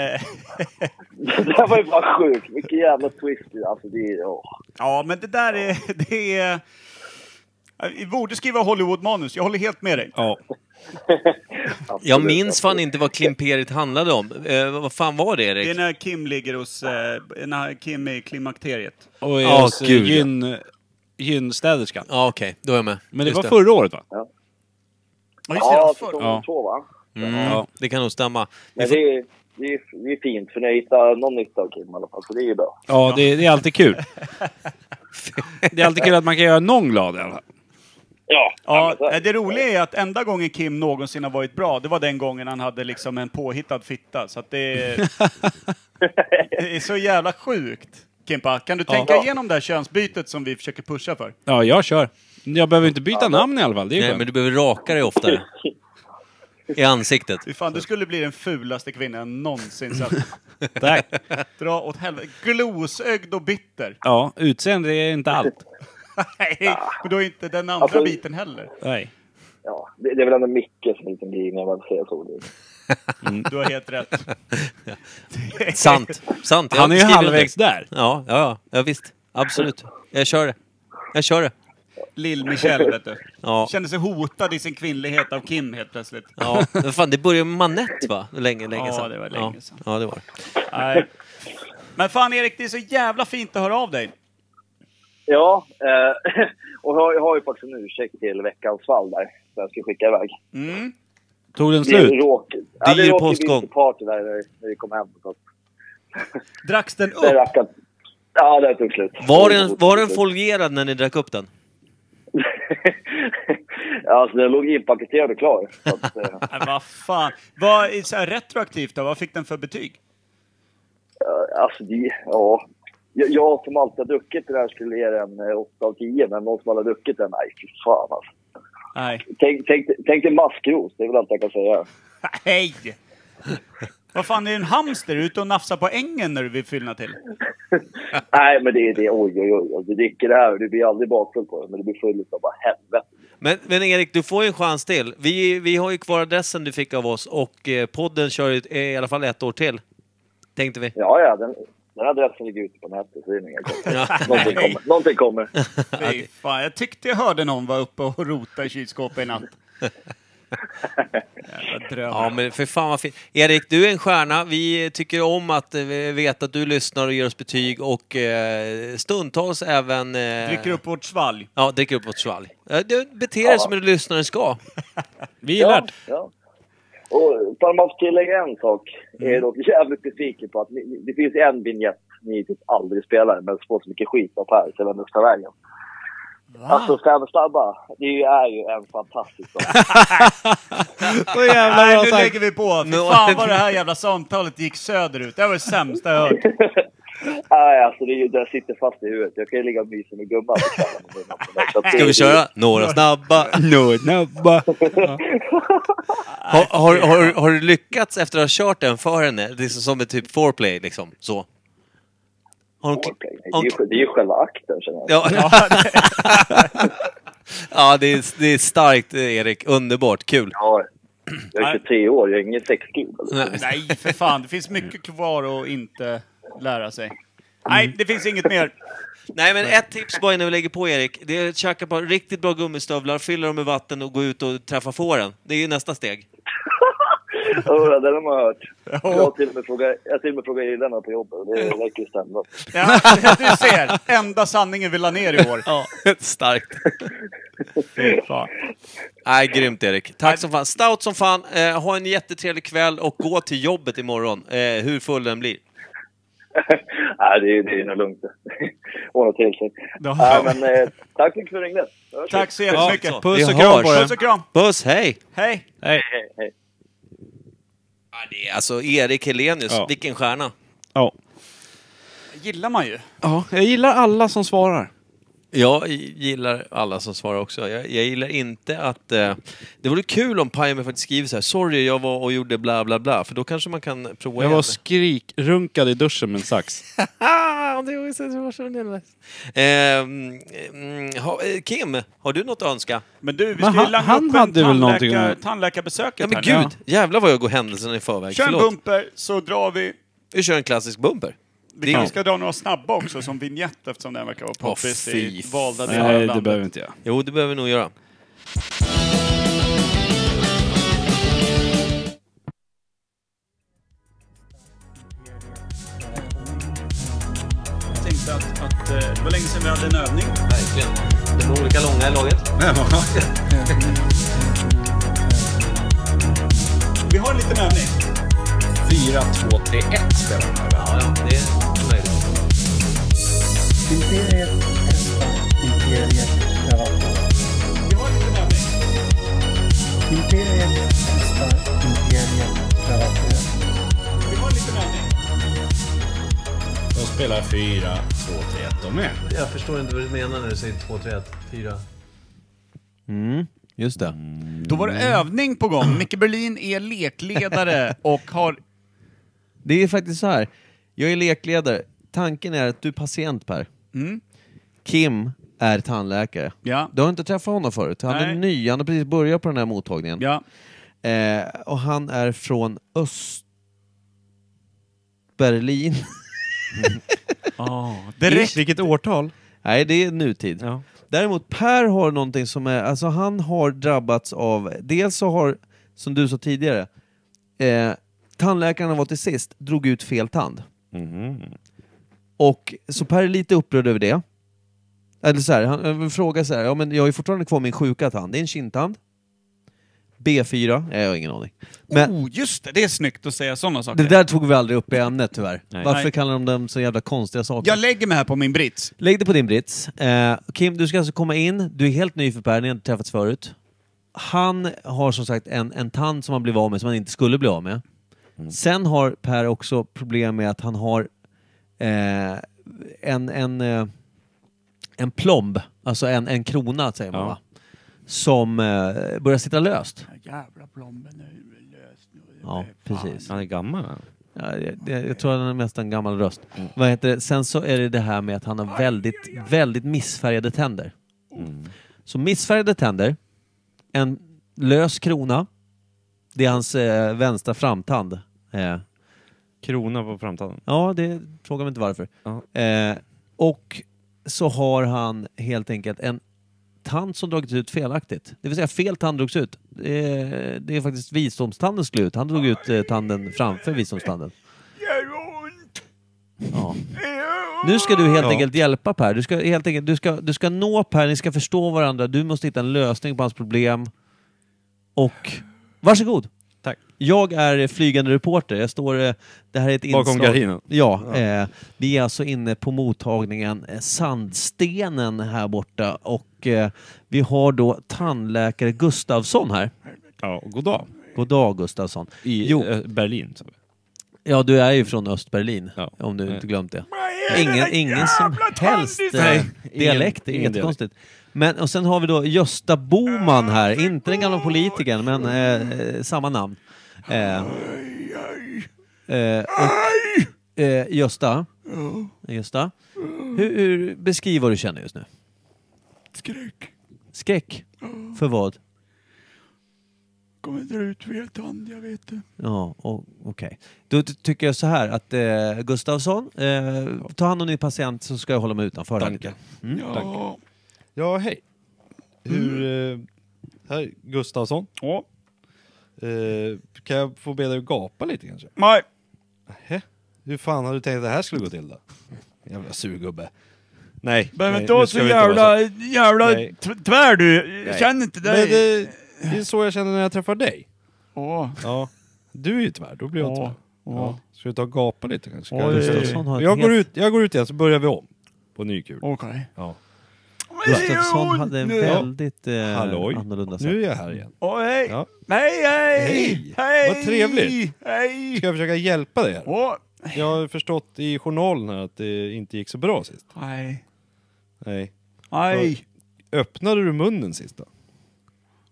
*laughs*
Det här var ju bara sjukt. Vilken jävla twist. Alltså, det är... åh.
Ja, men det där är... Det är... eh, Vi borde skriva Hollywood-manus, jag håller helt med dig.
Ja.
Jag minns fan inte vad klimperiet handlade om. Eh, vad fan var det
Det är
Erik?
när Kim ligger hos... Eh, när Kim är i klimakteriet.
Och är
Ja,
hos, eh,
gud, ja.
gyn, gynstäderskan.
Ja, okej. Då är jag med.
Men det
Just
var
det.
förra året va?
Ja.
Ja,
just det,
Ja,
förr.
säsong två, va?
Mm,
Ja.
Det kan nog stämma.
Men det är, det, är, det är fint, för ni har hittat någon nytta av Kim i alla fall, så det är ju bra.
Ja, det, det är alltid *laughs* kul. Det är alltid kul att man kan göra någon glad i alla fall.
Ja.
Ja, det roliga är att enda gången Kim någonsin har varit bra, det var den gången han hade liksom en påhittad fitta. Så att det är... *laughs* det är så jävla sjukt. Kimpa, kan du
Ja.
tänka
Ja.
igenom det här könsbytet som vi försöker pusha för?
Ja, jag kör. Jag behöver inte byta namn i alla fall. Det är
Nej,
skönt.
men du behöver raka dig oftare. I ansiktet.
Fy fan, du skulle bli den fulaste kvinnan jag någonsin sett. *laughs*
Tack.
Dra åt helvete. Glosögd och bitter.
Ja, utseende är inte allt.
*laughs* Nej, men då är inte den andra
Alltså-
biten heller.
Nej.
Ja, det, det är väl ändå Micke som är lite grej när jag väl säger så.
Du har helt *laughs* rätt.
Sant. Sant. Jag
Han är ju
skriver
halvvägs
under.
där.
Ja, ja, ja, ja, visst. Absolut. Jag kör det. Jag kör det.
Lill-Michel, vet *laughs* du.
Ja.
Kände sig hotad i sin kvinnlighet av Kim helt plötsligt.
Ja, men fan, det började med Manette va? Länge, länge
Ja,
sedan.
det var länge sedan.
Ja, ja det var det.
Nej. Men fan Erik, det är så jävla fint att höra av dig.
Ja, eh, *laughs* och jag, har- jag har ju faktiskt en ursäkt till veckans fall där, som jag ska skicka iväg.
Mm.
Tog den
Det
slut?
råkade ja, det råkade bli lite party där när, när vi kom hem. Så.
Dracks den upp?
Det rackade. Ja, det tog slut. *laughs*
Var den, var den folgerad när ni drack upp den?
Alltså den låg inpaketerad och klar. Så att, *laughs* eh,
Nej, vad fan. Vad, är så här, retroaktivt då, vad fick den för betyg?
eh, alltså det, ja. Jag, jag som alltid har druckit det där skulle ge den eh, 8 av 10, men någon som aldrig har druckit den, nej fy fan alltså.
Nej.
Tänk, tänk, tänk dig maskros, det är väl allt jag kan säga.
Nej! Vad fan, är det en hamster ute och nafsar på ängen när du vill fyllna till?
nej men det är det, oj oj oj. Alltså, du dricker det här och du blir aldrig bakfull på det, men du blir full utav bara helvete.
Men, men Erik, du får ju en chans till. Vi, vi har ju kvar adressen du fick av oss och eh, podden kör ju eh, i alla fall ett år till. Tänkte vi.
Ja, ja, den, den adressen ligger ute på nätet, så det är inga konstigheter. Någonting kommer. Någonting kommer.
Fy fan, jag tyckte jag hörde någon vara uppe och rota i kylskåpet i natt. Jävla drömmar.
Ja, men för fan vad fint. Erik, du är en stjärna. Vi tycker om att eh, veta att du lyssnar och ger oss betyg och eh, stundtals även... Eh,
Dricker upp vårt svalg.
Ja, dricker upp vårt svalg. Eh, Du beter dig som en lyssnare ska.
Vi
Ja, ja. Och bara man får tillägga en sak. Jag är dock jävligt besviken på att ni- ni, det finns en vignett ni typ aldrig spelar, men som får så mycket skit av Per, så jag vet inte vart den tar vägen. Alltså Fem snabba, det är ju en fantastisk låt.
Så jävla
Nej,
bra
nu
sagt.
lägger vi på. Fy
Nu-
fan vad det här jävla samtalet gick söderut. Det här var det sämsta jag hört.
Nej, alltså det är ju, den sitter fast i huvudet. Jag kan ju ligga och mysa med gubbar.
*laughs* Ska vi köra några snabba?
Några snabba.
Har, har, har, har du lyckats efter att ha kört den för henne? Det är som ett typ foreplay liksom. Så. Har hon,
Det är ju- det är ju själva akten, känner jag.
Ja, *laughs* ja det, är, det är starkt eh, Erik. Underbart. Kul.
Ja, jag är 23 år, jag är ingen sexgud.
Nej.
Nej, för fan. Det finns mycket kvar att inte lära sig. Nej, det finns inget mer.
Nej, men ett tips bara innan vi lägger på Erik. Det är att tjacka på riktigt bra gummistövlar, fylla dem med vatten och gå ut och träffa fåren. Det är ju nästa steg.
Ja, det har man hört. Jag har till och med frågat, jag har till och med frågat gillarna på jobbet och det verkar ju stämma.
Ja, *laughs* du ser. Enda sanningen vi la ner i år.
Ja, *laughs* starkt.
Fy fan.
Nej, grymt Erik. Tack som fan. Stout som fan. Eh, ha en jättetrevlig kväll och gå till jobbet imorgon, eh, hur full den blir.
*laughs* Nej, det är, det är nog lugnt. *laughs* Ordna till sig.
Ja.
Nej, men, eh, tack så mycket för att du ringde. Hörs vi.
Tack så jättemycket.
Ja, så. Puss och Vi kram hörs. på dig.
Puss och kram.
Puss, hej!
Hej.
Hej.
hej.
Ja, det är alltså Erik Helenius,
Ja.
vilken stjärna.
Ja.
gillar man ju.
ja, jag gillar alla som svarar.
Jag gillar alla som svarar också. Jag, jag gillar inte att... Eh, det vore kul om Pimer faktiskt skriver så här. Sorry, jag var och gjorde bla bla bla. För då kanske man kan prova
Jag var
igen.
skrikrunkad i duschen med en sax.
*laughs* Ah, det var så- det var så jävla nice. Ehm, mm, ha, eh, Kim, har du något att önska?
Men du, vi
Men
ska ju
han-
langa
han
upp en
hade väl någonting
tandläkar,
nu?
tandläkarbesöket
Ja, men
här nu.
gud! Jävlar vad jag går händelserna i förväg.
Kör en
Förlåt.
bumper så drar vi.
Vi kör en klassisk bumper.
Vi kanske ska dra några snabba också som vignett eftersom den verkar vara
Åh,
poppis
fy
i valda
fan.
delar av landet.
inte jag.
Jo, det behöver vi nog göra.
Jag tänkte att, att eh, det var länge sedan vi hade en övning.
Verkligen. De är olika långa i laget.
Vi har en liten övning.
4, 2, 3, 1 spelar de här.
Ja, ja, det är möjligt.
Imperiet, Espa, Imperiet, Lavanda. Imperiet, Espa, Imperiet, Lavanda.
De spelar 4, 2, 3, 1 de med.
Jag förstår inte vad du menar när du säger 2, 3, 1, 4. Mm, just det.
Då var det övning på gång. Micke Berlin är *laughs* lekledare och har...
Det är faktiskt så här. Jag är lekledare. Tanken är att du är patient, Per.
Mm.
Kim är tandläkare.
Ja.
Du har inte träffat honom förut. Han är
Nej.
ny. Han har precis börjat på den här mottagningen.
Ja.
Eh, och han är från Östberlin.
det räcker-
Vilket årtal?
Nej, det är nutid. Däremot Per har någonting som är, alltså han har drabbats av, dels så har, som du sa tidigare, eh, tandläkaren han var till sist drog ut fel tand. Och så Per är lite upprörd över det. Eller så här, han eh, frågar så här, ja men jag har ju fortfarande kvar min sjuka tand, det är en kindtand. B4, Nej, jag har ingen aning. Men
Oh, just det! Det är snyggt att säga sådana saker.
det där tog vi aldrig upp i ämnet tyvärr.
Nej.
Varför
Nej.
kallar de dem så jävla konstiga saker?
Jag lägger mig här på min brits.
Lägg det på din brits. Eh, Kim, du ska alltså komma in. Du är helt ny för Per, ni har inte träffats förut. han har som sagt en, en tand som han blev av med, som han inte skulle bli av med. Sen har Per också problem med att han har eh, en, en, eh, en plomb, alltså en, en krona säger man va? Som eh, börjar sitta löst.
Jävla plomben är lös nu.
Ja, precis. Han är gammal Ja, jag, jag, jag tror han är mest en gammal röst. Vad heter det? Sen så är det det här med att han har väldigt, väldigt missfärgade tänder. Så missfärgade tänder, en lös krona, det är hans eh, vänstra framtand. Eh. Krona på framtanden? Ja, det frågar mig inte varför. Eh, och så har han helt enkelt en tand som dragits ut felaktigt. Det vill säga fel tand drogs ut. Det är, det är faktiskt visdomstanden skulle ut. Han drog ut eh, tanden framför visdomstanden. Ja. Nu ska du helt
Ja.
enkelt hjälpa Per. Du ska, helt enkelt, du, ska, du ska nå Per, ni ska förstå varandra. Du måste hitta en lösning på hans problem. Och varsågod! Tack. Jag är eh, flygande reporter. Jag står... eh, Det här är ett
Bakom
inslag-
gardinen.
Ja.
Ja.
Eh, vi är alltså inne på mottagningen eh, Sandstenen här borta och eh, vi har då tandläkare Gustavsson här. Ja, god dag. God dag Gustavsson. I Berlin. Ja, du är ju från Östberlin, om du inte glömt det. Ingen, ingen som helst eh,
Nej, ingen-
dialekt, det är
ingen
inget konstigt. Men, och sen har vi då Gösta Boman här, inte den gamla politikern, men eh, eh, samma namn. Eh, eh, och, eh, Gösta, Gösta hur, hur, beskriv vad du känner just nu.
Skräck.
Skräck? För vad?
Kommer dra ut fel tand, jag vet det.
Ja, o- okej. Då ty- tycker jag så här att eh, Gustavsson, eh, ta hand om din patient så ska jag hålla mig utanför. Tackar.
Ja.
Ja, hej. Hur... eh, Här, Gustavsson.
Ja.
Eh, kan jag få be dig att gapa lite kanske?
Nej.
Hä? Hur fan har du tänkt att det här skulle gå till då? Jävla surgubbe. Nej.
Behöver
nej,
inte vara
nu ska
så
vi inte vara
jävla,
så.
jävla
Nej.
tv- tvär du. Jag
Nej.
känner inte
Men
dig.
det, det är så jag känner när jag träffar dig.
Åh.
Ja. Du är ju tvär, då blir jag
Åh.
tvär.
Åh.
Ja. Ska du ta och gapa lite kanske?
Oj. Gustafsson har ett
jag, går
helt-
ut, jag går ut igen så börjar vi om. På ny kul.
Okej.
Ja.
Gustavsson hade en
Ja.
väldigt eh,
Halloj.
annorlunda sätt.
Nu är jag här igen.
Åh, hej.
Ja.
Hej, hej!
Hej!
Hej!
Vad trevligt.
Hej!
Ska jag försöka hjälpa dig här? Jag har förstått i journalen här att det inte gick så bra sist.
Nej.
Nej.
Aj.
Så, Öppnade du munnen sist då?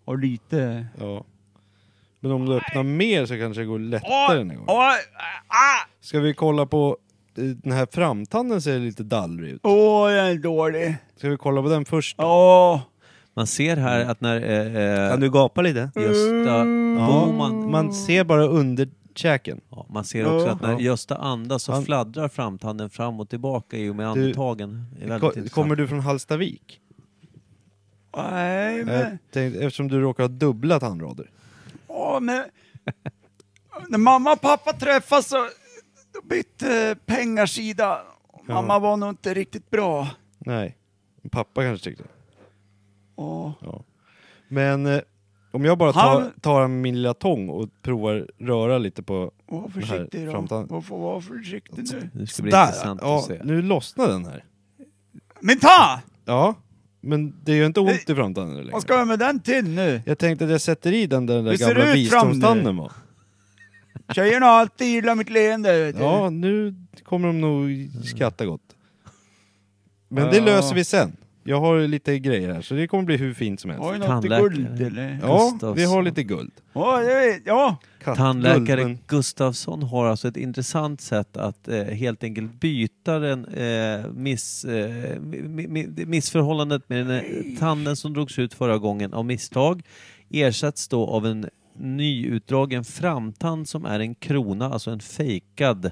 Ja, lite.
Ja. Men om du öppnar mer så kanske det går lättare den här gången. Ska vi kolla på... eh, Den här framtanden ser lite dallrig ut.
Åh, den är dålig.
Ska vi kolla på den först?
Ja.
Man ser här att när... Eh, eh,
Kan Mm. du gapa lite? Mm.
Gösta Boman...
Man ser bara underkäken.
Ja, man ser också
Ja.
att när
Ja.
Gösta andas så
Han-
fladdrar framtanden fram och tillbaka i och med
Du-
andetagen. Det är väldigt
Ko-
intressant.
Kommer du från Hallstavik?
Nej, men...
Jag tänkte, eftersom du råkar ha dubbla tandrader.
Ja, men... När mamma och pappa träffas så då bytte pengarsida. Mamma var nog inte riktigt bra.
Nej. Pappa kanske tyckte det.
Åh.
Ja. Men eh, om jag bara tar,
Han-
tar min lilla tång och provar röra lite på
Var
den
försiktig
här
då.
framtanden.
Varför var försiktig nu?
Det ska bli
Där!
intressant att
ja,
se.
Nu lossnar den här.
Men ta!
Ja, men det gör inte ont i framtanden längre.
Vad ska jag med den till nu?
Jag tänkte att jag sätter i den där, den där
Hur ser det
gamla
ut fram nu?
visdomstanden var.
Tjejerna har alltid gillat mitt leende. vet du.
Ja, nu kommer de nog skratta gott. Men det
Ja.
löser vi sen. Jag har lite grejer här, så det kommer bli hur fint som helst.
Har vi något i Tandläkare. guld, eller?
Ja,
Gustavsson.
vi har lite guld.
Ja, det vet jag.
Tandläkare
Guldmun.
Gustafsson har alltså ett intressant sätt att eh, helt enkelt byta den, eh, miss, eh, mi, mi, mi- missförhållandet med den, eh, tanden som drogs ut förra gången av misstag ersätts då av en nyutdragen framtand som är en krona, alltså en fejkad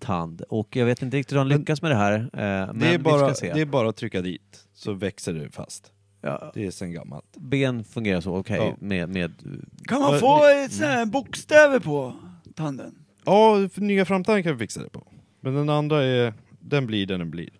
tand. Och jag vet inte riktigt hur han lyckas med det här, eh, men
det, är bara,
vi ska se.
det är bara att trycka dit, så växer det fast.
Ja.
Det är sen gammalt.
Ben fungerar så, okej,
Ja.
med, med...
Kan man få eh, såna här bokstäver på tanden?
Ja, för nya framtiden kan vi fixa det på. Men den andra är, den blir den den blir.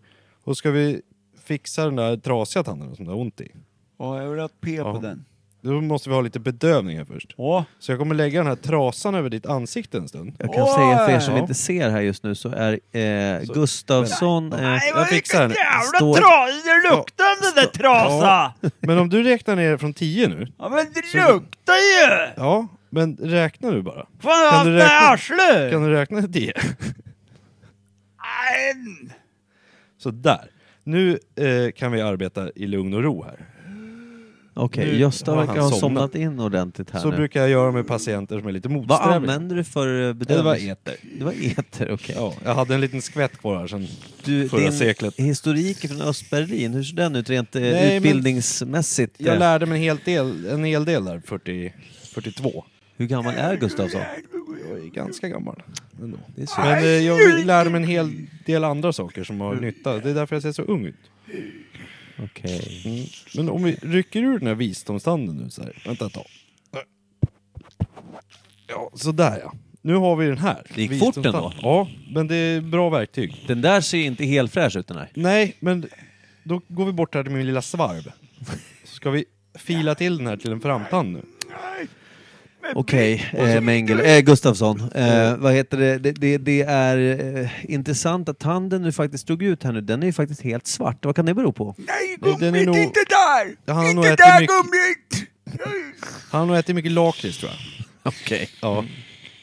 Och ska vi fixa den där trasiga tanden som det har ont i?
Ja, jag vill ha ett P på den.
Då måste vi ha lite bedövning här först. Så jag kommer lägga den här trasan över ditt ansikte en stund.
Jag kan säga för er som inte ser här just nu så är eh, Gustavsson... Eh,
jag fixar den.
Jävla tra! Det
lukta om den där trasa!
Ja, men om du räknar ner från 10 nu.
Ja men det
Så-
luktar ju!
Ja, men räkna nu bara.
Fan, jag har haft det här arslet!
kan du räkna till *laughs* 10?
En!
Så där. Nu eh, kan vi arbeta i lugn och ro här.
eh, Okej,
Nu
Gösta
har
verkar
han
ha somnat. in ordentligt här
Så
nu.
brukar jag göra med patienter som är lite
Vad
motsträviga.
använder du för eh, bedövning?
Det var eter.
Det var eter, okej.
Ja, jag hade en liten skvätt kvar här sen
Du,
förra
din
seklet.
historik är från Östberlin, hur ser den ut rent eh,
Nej, men-
utbildningsmässigt?
Jag
eh?
lärde mig en hel del, en hel del där, 40, 42.
Hur gammal är Gustavsson?
Jag är ganska gammal ändå.
Det är så.
Men eh, jag lärde mig en hel del andra saker som har nytta. Det är därför jag ser så ung ut.
Okej.
Mm. Men om vi rycker ur den här visdomstanden nu så här. Vänta ett tag. Ja, sådär ja. Nu har vi den här.
Det gick fort
Visdomstand-
ändå.
Ja, men det är bra verktyg.
Den där ser ju inte helt fräsch ut den här.
Nej, men då går vi bort här till min lilla svarv. Så ska vi fila till den här till en framtand nu.
Okej, eh, Mengel. Eh, Gustafsson. Eh, vad heter det? Det, det, det är eh, intressant att tanden du faktiskt drog ut här nu, den är ju faktiskt helt svart. Vad kan det bero på?
Nej,
Den är nog...
inte där!
Han har nog
Inte
ätit
där
mycket-
gummit!
Han har nog ätit mycket lakrits tror jag.
*laughs*
Okej.
Ja,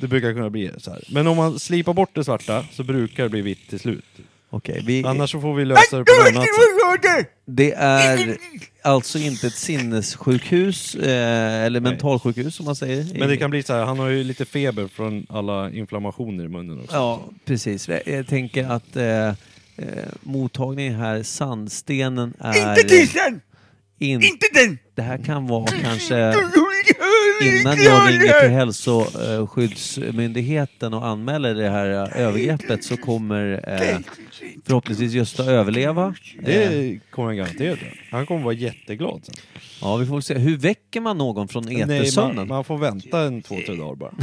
det brukar kunna bli så här. Men om man slipar bort det svarta så brukar det bli vitt till slut.
Okej,
Annars så får vi lösa det på något annat sätt.
Det är alltså inte ett sinnessjukhus eh, eller mentalsjukhus som man säger.
Men det kan bli så här, han har ju lite feber från alla inflammationer i munnen också.
Ja, precis. Jag- Jag tänker att eh, eh, mottagningen här, sandstenen är...
Inte dissen!
In,
Inte den!
Det här kan vara kanske innan jag ringer till hälsoskyddsmyndigheten och anmäler det här eh, övergreppet så kommer eh, förhoppningsvis Gösta överleva. Eh,
Det kommer han garanterat göra. Han kommer vara jätteglad sen.
ja, vi får väl se. Hur väcker man någon från
Nej, man,
etersömnen?
man får vänta en två, tre dagar bara.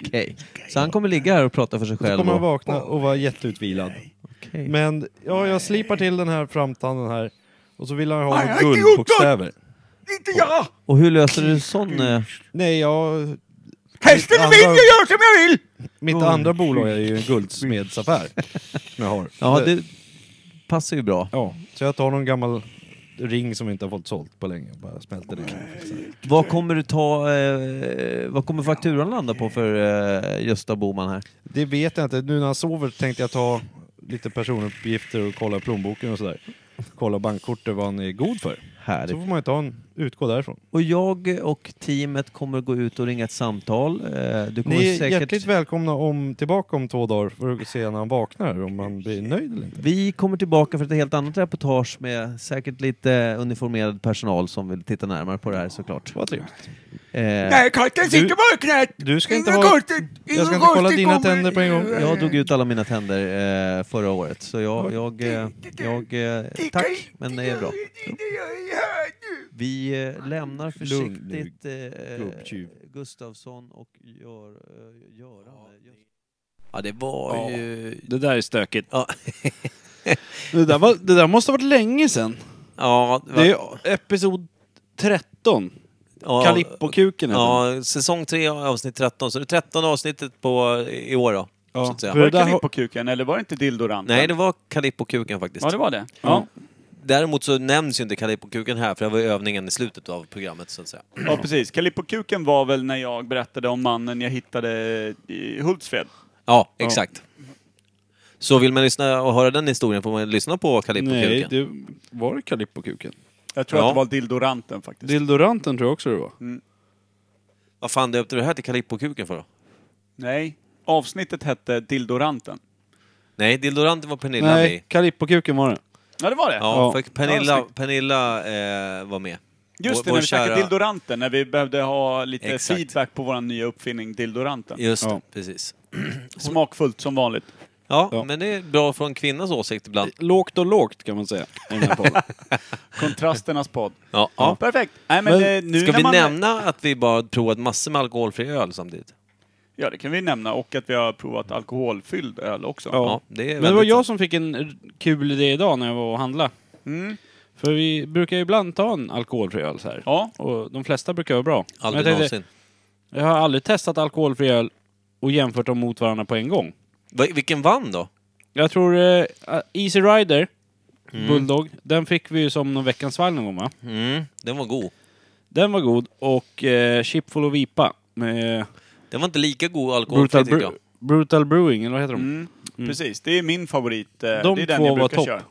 Okej. Så han kommer ligga här och prata för sig
Så
själv?
kommer han
och-
vakna och vara jätteutvilad.
Okej.
Men ja, jag slipar till den här framtanden här. Och så vill han
Nej,
ha
jag har
några
inte gjort något!
guldbokstäver.
Inte jag!
Och hur löser du sån... Eh,
Nej, jag...
Hästen
Andra-
vill jag gör som jag vill!
Mitt andra bolag är ju en
*laughs*
guldsmedsaffär. Som jag har.
ja, det passar ju bra.
Ja, så jag tar någon gammal ring som vi inte har fått sålt på länge och bara smälter ner.
Vad kommer du ta... Eh, vad kommer fakturan landa på för eh, Gösta Boman här?
Det vet jag inte. Nu när han sover tänkte jag ta lite personuppgifter och kolla plånboken och sådär. Kolla bankkortet, vad han är god för.
Härligt.
Så får man ju ta en, utgå därifrån.
Och jag och teamet kommer gå ut och ringa ett samtal. Eh, Du kommer
Ni är
säkert...
hjärtligt välkomna om, tillbaka om två dagar för att se när han vaknar, om han blir nöjd eller inte.
Vi kommer tillbaka för ett helt annat reportage med säkert lite uniformerad personal som vill titta närmare på det här såklart.
Vad trevligt.
Eh,
Nej, katten sitter bara i knät!
Du ska inte
Inga
ha-
konstigt,
jag
inga
ska inte kolla
konstigt
dina
kommer.
tänder på en gång.
Jag drog ut alla mina tänder eh, förra året, så jag... jag, eh, jag eh, tack, men det är bra. Vi eh, lämnar
Lugn nu,
försiktigt eh,
gubbtjuv.
Gustavsson och gör, eh, Göran.
Ja, det var
Ja.
ju...
Det där är stökigt.
Ja.
*laughs* det, där var, det där måste ha varit länge sedan.
Ja,
det, är episod 13.
Ja,
Kalippokuken heter den.
Ja, säsong 3 avsnitt 13. Så det är 13 avsnittet på i år då. så att säga.
Var det Kalippokuken eller var det inte Dildoranten?
Nej, det var Kalippokuken faktiskt.
Ja, det var det. Ja.
Däremot så nämns ju inte Kalippokuken här, för det var ju övningen i slutet av programmet så att säga.
Ja, precis. Kalippokuken var väl när jag berättade om mannen jag hittade i Hultsfred.
Ja, exakt. Så vill man lyssna och höra den historien får man lyssna på Kalippokuken.
Nej, det var det Kalippokuken?
Jag tror
Ja.
att det var Dildoranten faktiskt.
Dildoranten tror jag också det var.
Vad fan döpte du det här till Kalippokuken för då?
Nej, avsnittet hette Dildoranten.
Nej, Dildoranten var Pernilla med i.
Nej, Kalippokuken var det.
Ja, det var det.
Ja, för Pernilla,
Ja,
Pernilla eh, var med.
Just det,
Vår
när vi
kära-
snackade Dildoranten, när vi behövde ha lite
Exakt.
feedback på vår nya uppfinning Dildoranten.
Just det, precis.
Smakfullt som vanligt.
Ja, men det är bra för en kvinnas åsikt ibland.
Lågt och lågt kan man säga. i
*laughs*
den här podden.
Kontrasternas podd.
Ja,
Ja, perfekt. Nej, men, eh, nu
ska
när
vi
man-
nämna att vi bara provat massor med alkoholfri öl samtidigt?
Ja, det kan vi nämna. Och att vi har provat alkoholfylld öl också.
Men det var jag som fick en r- kul idé idag när jag var och handla.
Mm.
För vi brukar ju ibland ta en alkoholfri öl så här.
Ja.
Och de flesta brukar vara bra. Men
Aldrig
jag
någonsin.
Jag har aldrig testat alkoholfri öl och jämfört dem mot varandra på en gång.
Va, vilken vann då?
Jag tror eh, Easy Rider
Mm. Bulldog. Den fick vi ju som någon veckans vagn någon gång va?
Mm, Den var god.
Den var god. Och eh, Chipful och Vipa med...
Den var inte lika god
Brutal,
alkoholfri tycker
Bre-
jag.
Brutal Brewing, eller vad heter de?
Mm.
Mm.
Precis, det är min favorit. eh,
De
det är den
två
jag
var
brukar
topp.
köra.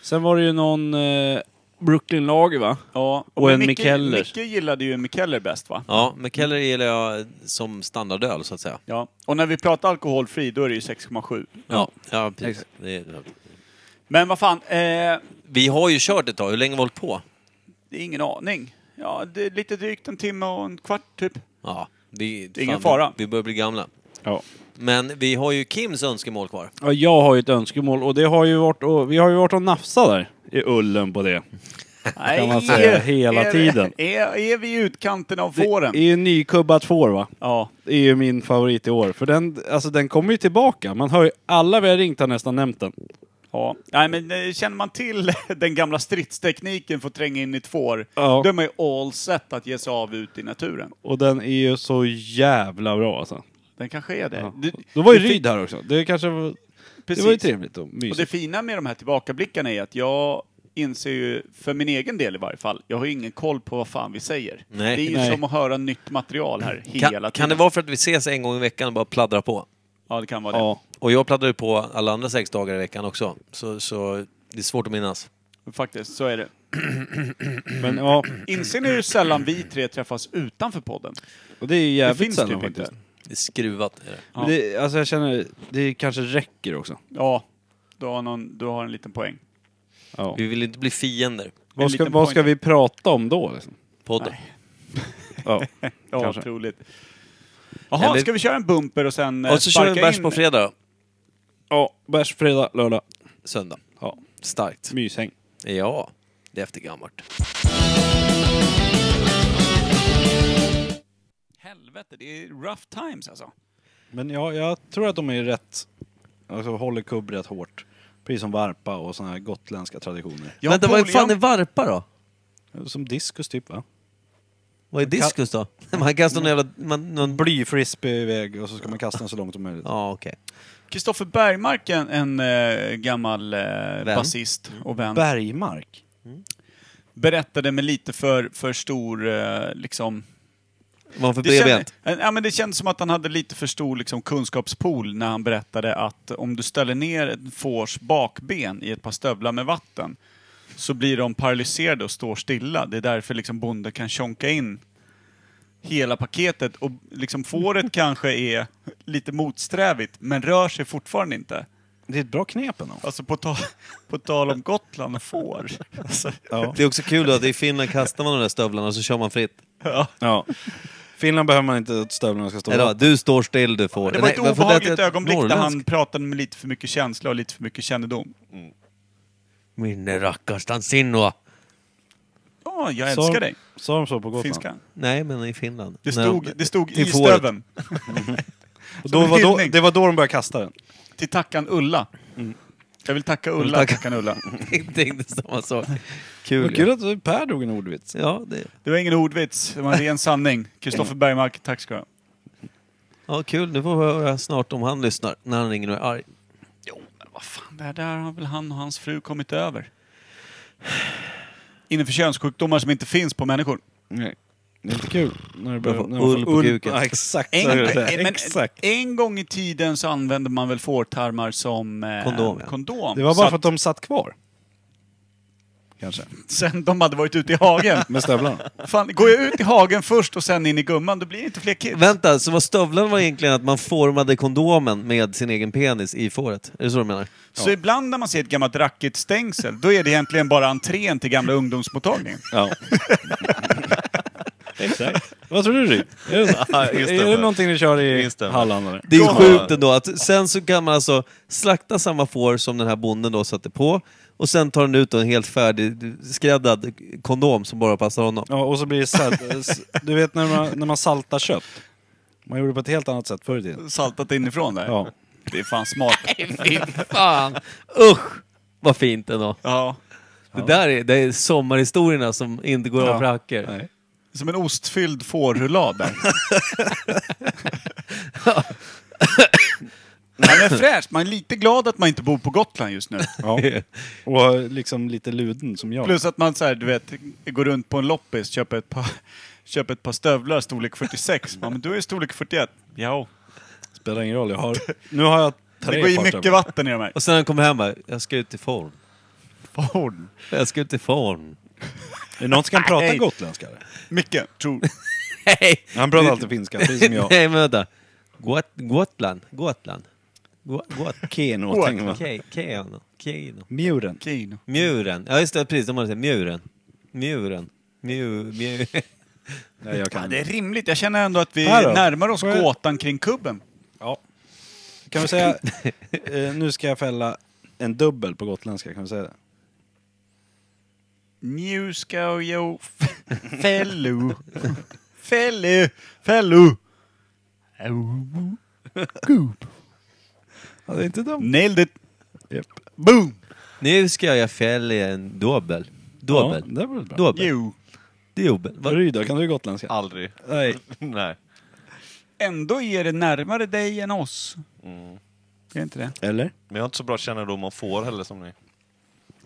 Sen var det ju någon eh, Brooklyn Lager va?
Ja.
Och, en Mikkellers.
Micke gillade ju Mikeller bäst va?
Ja, McKellar gillar jag som standardöl så att säga.
Ja. Och när vi pratar alkoholfri, då är det ju 6,7.
Ja, ja precis. Det är...
Men vad fan, eh, det
Vi har ju kört ett tag. Hur länge har vi hållit på?
är ingen aning. Ja, det är lite drygt en timme och en kvart typ.
Ja, vi,
Det är ingen fara.
Vi börjar bli gamla.
Ja.
Men vi har ju Kims önskemål kvar.
Ja, jag har ju ett önskemål och det har ju varit och, vi har ju varit och nafsa där i ullen på det. kan man säga hela
är,
tiden.
Är, är vi i utkanten av
Det
fåren?
är ju nykubbat får va?
Ja.
Det är ju min favorit i år. För den, alltså, den kommer ju tillbaka. Man hör ju, alla vi har ringt har nästan nämnt den.
Ja. Nej, men eh, känner man till *laughs* den gamla stridstekniken för att tränga in i ett får,
Ja.
då är man ju all set att ge sig av ut i naturen.
Och den är ju så jävla bra alltså.
Den kanske är det.
Ja.
Du-
Då var ju
du fick-
Ryd här också. Eh, Det kanske var...
Precis.
Det var ju trevligt och
Och det
mysigt.
fina med de här tillbakablickarna är att jag inser ju, för min egen del i varje fall, jag har ju ingen koll på vad fan vi säger.
Nej.
Det är ju
Nej.
som att höra nytt material här hela
Kan,
tiden.
kan det vara för att vi ses en gång i veckan och bara pladdrar på?
Ja, det kan vara det.
Och jag pladdrar ju på alla andra sex dagar i veckan också. Så, så det är svårt att minnas.
Faktiskt, så är det.
Men ja,
Inser ni hur sällan vi tre träffas utanför podden?
och det är ju jävligt
Det finns
sällan
typ inte.
faktiskt.
Det är skruvat. Är det.
Men Det, alltså jag känner, det kanske räcker också.
Ja, du har, någon, du har en liten poäng.
Ja.
Vi vill inte bli fiender.
Vad ska, vad ska vi prata om då liksom?
Podden.
Ja, *laughs*
Ja,
kanske.
troligt.
Nej,
Jaha,
men-
ska vi köra en bumper och sen eh,
Och så kör vi en
sparka
bärs
in-
på fredag.
Ja, bärs fredag, lördag.
Söndag.
Ja.
Starkt.
Myshäng.
Ja, det är eftergammalt.
Helvete, det är rough times alltså.
Men ja, jag tror att de är rätt, alltså håller kubb rätt hårt. Precis som varpa och sådana här gotländska traditioner.
Ja, Vänta, vad fan är varpa då?
Som diskus typ va?
Vad är diskus då? *laughs* Man kastar någon jävla... Man, någon...
Blyfrisbee iväg och så ska man kasta den så långt som möjligt.
Ja, okej.
Kristoffer Bergmark, en, en eh, gammal eh, basist och vän,
Bergmark?
berättade med lite för, för stor, eh, liksom...
Var han för
Det kände-
bredbent?
eh, Ja, men det kändes som att han hade lite för stor liksom, kunskapspool när han berättade att om du ställer ner ett fårs bakben i ett par stövlar med vatten så blir de paralyserade och står stilla. Det är därför liksom bonden kan tjonka in hela paketet och
*laughs*
liksom fåret kanske är lite motsträvigt men rör sig fortfarande inte.
Det är ett bra knep ändå.
Alltså på, ta på tal om Gotland och får. Alltså,
Det är också kul då att i Finland kastar man de där stövlarna och så kör man fritt.
ja.
Ja. Finland behöver man inte att stövlarna ska stå
Eller,
upp.
du står still du får.
Det var ett
Nej, varför lät
obehagligt
jag
ögonblick där han
norrländsk?
pratade med lite för mycket känsla och lite för mycket kännedom.
Minne rackarstan sinua.
Ja, jag älskar dig.
Sa de så på Gotland?
Finskan.
Nej, men i Finland.
Det
När
stod,
de-
det stod i
till fåret.
*laughs*
*laughs*
stöven.
Och då var då, det var då de började kasta den.
Till tackan Ulla.
Mm.
Jag vill tacka
vill
Ulla,
tacka-
tackan Ulla.
Jag tänkte samma sak.
Vad
Kul.
Kul
ju.
att Per drog en ordvits.
Ja, det...
Det var ingen ordvits, det var en ren sanning. Kristoffer
Mm.
Bergmark, tack ska du ha.
ja, kul. Nu får vi höra snart om han lyssnar. När han ringer och är arg.
Fan, det här- där har väl han och hans fru kommit över. Innanför könssjukdomar som inte finns på människor.
Nej. Det är inte kul när det
Jag
börjar...
får
När man
ull på kuken.
Ja, exakt.
En,
så är det där.
men,
exakt.
en gång i tiden så använde man väl fårtarmar som eh,
Kondom, ja.
kondom.
Det var
Så
bara
att
för att de satt kvar. Kanske.
sen de hade varit ute i hagen.
Med stövlarna.
Fan, går jag ut i hagen först och sen in i gumman, då blir det inte fler kids.
Vänta, så vad stövlarna var egentligen att man formade kondomen med sin egen penis i fåret? Är det så du menar?
Så ibland när man ser ett gammalt rackigt stängsel, då är det egentligen bara entrén till gamla ungdomsmottagningen.
*laughs*
*laughs*
Ja. exakt. Vad tror du Ryd? Är det, så?
Ja, just det.
är det någonting ni kör i
Just det.
Halland eller?
Det är sjukt ändå att sen så kan man alltså slakta samma får som den här bonden då satte på och sen tar den ut då en helt färdigskräddad kondom som bara passar honom.
Ja, och så blir det salt. Du vet när man, när man saltar kött. Man gjorde det på ett helt annat sätt förr i tiden.
Saltat inifrån där.
Ja.
Det är fan smart.
*laughs* Fy fan! Usch! Vad fint ändå.
Ja.
Det där är, det är sommarhistorierna som inte går av för hacker.
Nej.
Som en ostfylld fårrullad där. Man är fräsch, man är lite glad att man inte bor på Gotland just nu.
Ja. Och liksom lite luden som jag.
Plus att man så här, du vet, går runt på en loppis, köper ett par, köper ett par stövlar storlek 46. Ja, men du är storlek 41. Ja.
Spelar ingen roll, jag har... Nu har jag tre
Det går i
par
mycket
stövlar.
vatten i de här.
Och sen när han kom hem bara, jag ska ut i form.
Form?
Jag ska ut i form.
Är det någon som kan prata gotländska? eller?
Micke, tror...
Nej!
Han pratar alltid finska, precis som jag.
*laughs* Nej, men vänta. Got, Gotland. Gotland. Got, got.
Keno,
Got-
tänker man.
Ke- Keno. Keno.
Muren.
Kino.
Muren. Ja, just det. Precis. De har det. Muren. Muren. Mju, mju. *laughs*
Nej, jag kan
Ja, det är rimligt. Jag känner ändå att vi
Här då?
närmar oss
Får jag-
gåtan kring kubben.
Ja. Kan vi säga, eh, nu ska jag fälla en dubbel på gotländska, kan vi säga det?
Nu ska jag *laughs* fällu. Fällu. Fällu. Kubb.
Ja, det är inte dumt.
Nailed it.
Yep.
Boom!
Nu ska jag fälla en dobel. Dobel.
Ja, det var väl bra.
Dobel.
Jo.
Dobel. Vad-
Ryda, kan du gotländska?
Aldrig. *laughs*
Nej.
Nej.
Ändå är det närmare dig än oss.
Mm.
Är det inte det?
Eller?
Men jag har inte så bra kännedom om får heller som ni.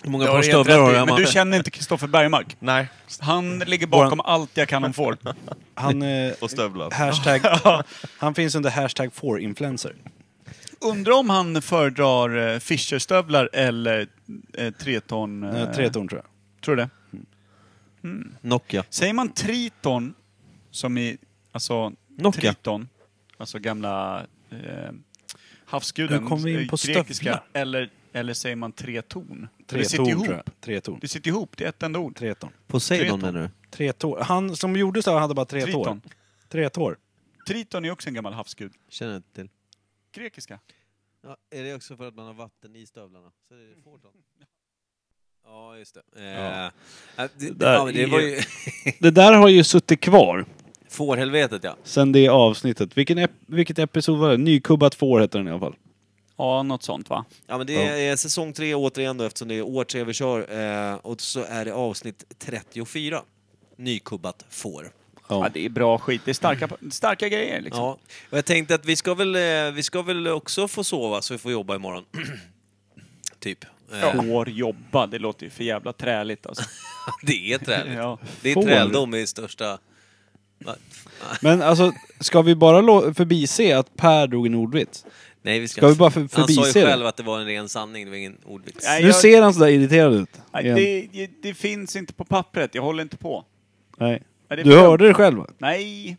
Hur många
Det
par
helt
stövlar
rätt
har
i,
du hemma? Mm.
Men du känner inte Kristoffer Bergmark?
Nej.
Han ligger bakom allt jag kan om får.
Han, eh,
Och stövlar.
hashtag,
*laughs*
han finns under hashtag 4influencer.
Undrar om han föredrar eh, Fischerstövlar eller eh, Treton... eh,
Eh, Tretorn tror jag.
Tror du det?
Nokia.
Säger man Triton, som i... Alltså...
Nokia.
Triton. Alltså gamla eh, havsguden.
Nu kom vi in
eh,
på
grekiska.
stövlar.
Eller, eller säger man Treton? det sitter
Tretorn
ihop.
tror jag. Tretorn.
Det sitter ihop, det är ett enda ord.
Tretorn.
Poseidon
Triton.
menar du?
Tre tår. Han som gjorde så här hade bara tre tår.
Triton.
Tre tår.
Triton är också en gammal havsgud.
Känner inte till.
Grekiska.
Ja, är det också för att man har vatten i stövlarna? Så är det fårton. *laughs* Ja, just det. Eh, ja. Det,
där
ja, men det var
är-
ju...
*laughs* Det där har ju suttit kvar
*laughs* Fårhelvetet, ja.
sen det avsnittet. Vilken ep- vilket episod var det? Nykubbat får heter den i alla fall.
Ja, något sånt va?
Ja, men det är säsong tre återigen då, eftersom det är år tre vi kör. Eh, och så är det avsnitt 34. Nykubbat får.
Ja, det är bra skit. Det är starka, starka grejer liksom.
Ja. Och jag tänkte att vi ska, väl, eh, vi ska väl också få sova så vi får jobba imorgon. *clears throat* typ. Eh,
Får jobba, det låter ju för jävla träligt alltså.
*laughs* det är träligt.
Ja.
Det är
Får.
träldom i största... Va?
Men alltså, ska vi bara lå- förbise att Per drog en ordvits?
Nej, vi ska,
Ska vi bara för-
Han sa ju
förbise det?
själv att det var en ren sanning, det var ingen ordvits.
Nej,
nu
jag-
ser han sådär irriterad ut.
Nej,
igen.
det, det- det finns inte på pappret, jag håller inte på.
Nej.
Ja, det är
Du
bra.
hörde det själv va?
Nej!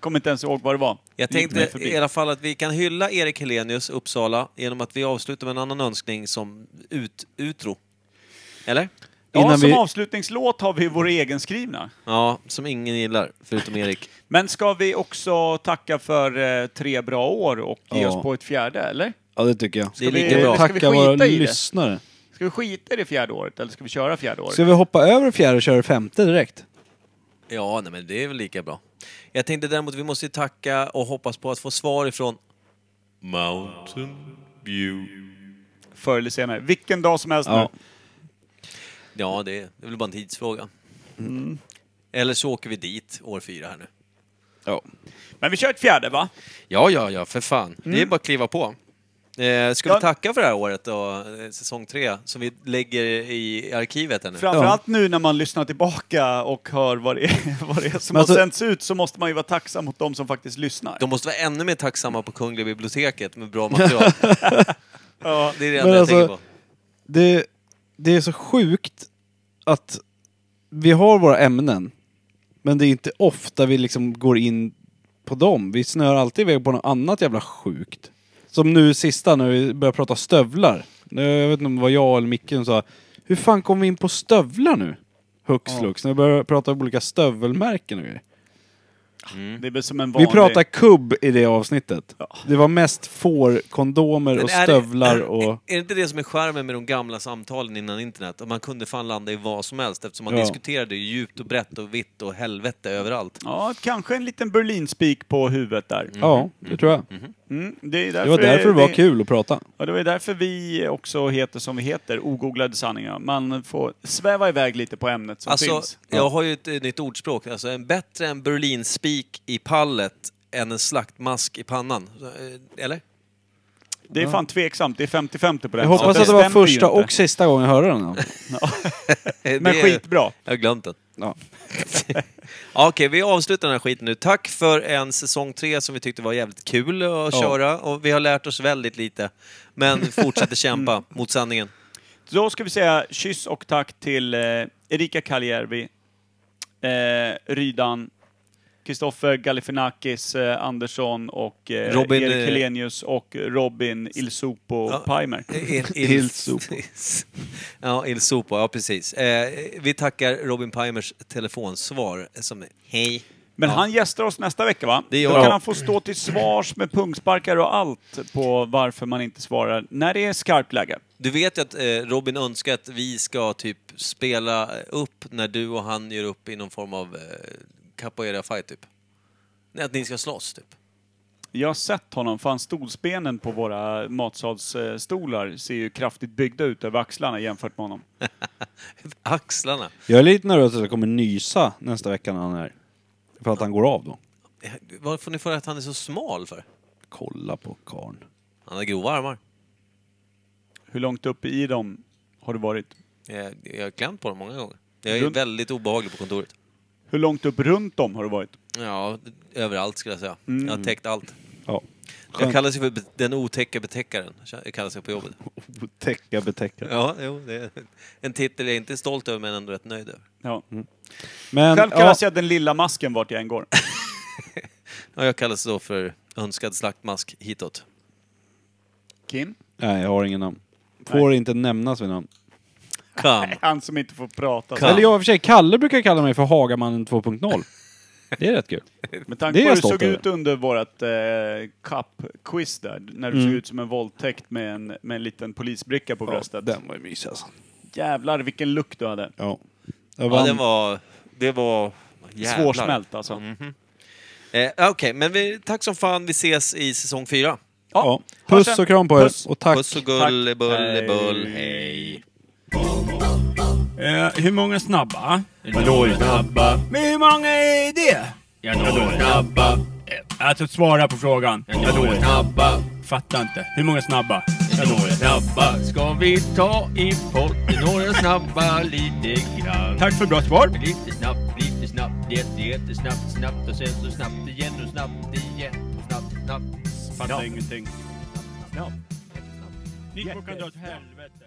Kommer inte ens ihåg vad det var.
Jag
Det gick mig
tänkte
förbi.
i alla fall att vi kan hylla Erik Helenius, Uppsala, genom att vi avslutar med en annan önskning som ut, utro. Eller?
Ja,
Innan
som
vi-
avslutningslåt har vi vår egenskrivna.
Ja, som ingen gillar, förutom Erik.
Men ska vi också tacka för eh, tre bra år och ge
Ja.
oss på ett fjärde, eller?
Ja, det tycker jag.
Ska Det är lika vi- bra. ska vi
Tacka våra
skita i det?
lyssnare.
Ska vi skita i det fjärde året, eller ska vi köra fjärde året?
Ska vi hoppa över fjärde och köra femte direkt?
*laughs* Ja, nej, men det är väl lika bra. Jag tänkte däremot vi måste ju tacka och hoppas på att få svar ifrån...
Mountain View.
Förr eller senare. Vilken dag som helst
Ja.
nu.
Ja, det är, det är väl bara en tidsfråga.
Mm.
Eller så åker vi dit år fyra här nu.
Ja,
Men vi kör ett fjärde, va?
ja, ja, ja för fan. Det
Mm.
är bara att kliva på. Eh, ska
Ja.
vi tacka för det här året då, eh, säsong tre, som vi lägger i arkivet här nu?
Framförallt nu när man lyssnar tillbaka och hör vad det är, *laughs* vad det är som
Men alltså-
har sänts ut så måste man ju vara tacksam mot de som faktiskt lyssnar.
De måste vara ännu mer tacksamma på Kungliga biblioteket
*laughs*
med bra material.
ja,
det är det
Men
enda
alltså-
jag tänker på.
det, det är så sjukt att vi har våra ämnen, men det är inte ofta vi liksom går in på dem. Vi snör alltid iväg på något annat jävla sjukt. Som nu sista, när vi började prata stövlar. Nu, Jag vet inte om det var jag eller Micke som sa, hur fan kom vi in på stövlar nu? Hux flux, när vi började prata om olika stövelmärken och grejer.
Det är väl som en
Vi
vanlig...
pratar kubb i det avsnittet. Det var mest fårkondomer
Men
och
är Mm-hmm. det-
stövlar och...
Är det inte det som är skärmen med de gamla samtalen innan internet? Att man kunde fan landa i vad som helst eftersom man
Ja.
diskuterade ju djupt och brett och vitt och helvete överallt.
Ja, kanske en liten Berlinspik på huvudet där.
Ja, det tror jag.
Mm-hmm.
Mm, det, är
Det var därför det var kul att prata.
Ja, det var ju därför vi också heter som vi heter, Ogooglade sanningar. Man får sväva iväg lite på ämnet som
Alltså,
finns.
jag har ju ett eh, nytt ordspråk. Alltså, en bättre en Berlinspik i pallet än en slaktmask i pannan. Eh, Eller?
Det är fan tveksamt. Det är 50-50 på den.
Jag hoppas
Så
att det var
stämmer ju
första
inte.
och sista gången jag hörde den. här.
Men skitbra.
Jag har glömt den.
Ja.
*laughs* Ja, Okej, vi avslutar den här skiten nu. Tack för en säsong tre som vi tyckte var jävligt kul att
Ja.
köra. Och vi har lärt oss väldigt lite. Men fortsätter kämpa mot sanningen.
Då ska vi säga kyss och tack till eh, Erika Kaljärvi, eh, Rydan, Kristoffer Galifinakis eh, Andersson och eh,
Robin, eh,
Erik Helenius och Robin Ilsopo Paimer.
Il Sopo. *laughs* ja, Il Sopo. Ja, precis. Eh, vi tackar Robin Pimers telefonsvar som är hej.
Men
ja.
han gästar oss nästa vecka va?
Det gör
Då
han.
kan han få stå till svars med punksparkar och allt på varför man inte svarar när det är skarpt läge.
Du vet ju att eh, Robin önskar att vi ska typ spela upp när du och han gör upp i någon form av eh, capoeira fight typ. Nej, att ni ska slåss typ.
Jag har sett honom, för han stolsbenen på våra matsalsstolar ser ju kraftigt byggda ut över axlarna jämfört med honom.
Axlarna.
Jag är lite nervös att jag kommer nysa nästa vecka när han är här. För att han går av då.
Eh, Vad får ni för att han är så smal för?
Kolla på karln.
Han har grova armar.
Hur långt uppe i dem har du varit?
Jag, jag har klämt på dem många gånger. Jag är
Runt-
väldigt obehaglig på kontoret.
Hur långt upp runt dem har du varit?
Ja, överallt skulle jag säga.
Mm.
Jag har täckt allt.
Ja.
Jag kallas ju för be- den otäcka betäckaren. Jag kallas jag på jobbet.
Täcka betäcka.
*laughs* Ja, jo, det är en titel jag inte är stolt över men ändå rätt nöjd över.
Ja.
Mm.
Men,
Själv kan
ja.
jag säga den lilla masken vart jag än går.
Ja, jag kallas då för önskad slaktmask hitåt.
Kim?
Nej, jag har ingen namn. Får inte nämnas vid namn.
Come.
Han som inte får prata.
Eller jag i och för sig, Kalle brukar kalla mig för Hagamannen 2.0. Det är rätt kul.
Med
Det
tanke
är jag
på hur du
stolt
såg
över.
ut under vårt eh, cup-quiz där, när du
Mm.
såg ut som en våldtäkt med en, med en liten polisbricka på
Ja,
bröstet.
den var ju mysig alltså.
Jävlar vilken lukt du hade.
Ja.
Ja, den var... Det var... jävlar.
Svårsmält alltså.
Eh, Okej, men vi, tack som fan. Vi ses i säsong fyra.
Ja. Puss och kram på er. Och tack.
Puss och gull, bull, bull, hej.
Eh, hur många snabba? Vadå snabba? Men hur många är det? Vadå snabba? Alltså svara på frågan. Vadå snabba? Fattar inte. Hur många snabba? Vadå snabba? Ska vi ta i potten några snabba lite grann? Tack för bra svar. Lite snabbt, lite snabbt, jätte, jättesnabbt, snabbt och sen så snabbt igen och snabbt igen. Snabbt, snabbt.
Fattar ingenting.
Ni får åka åt helvete.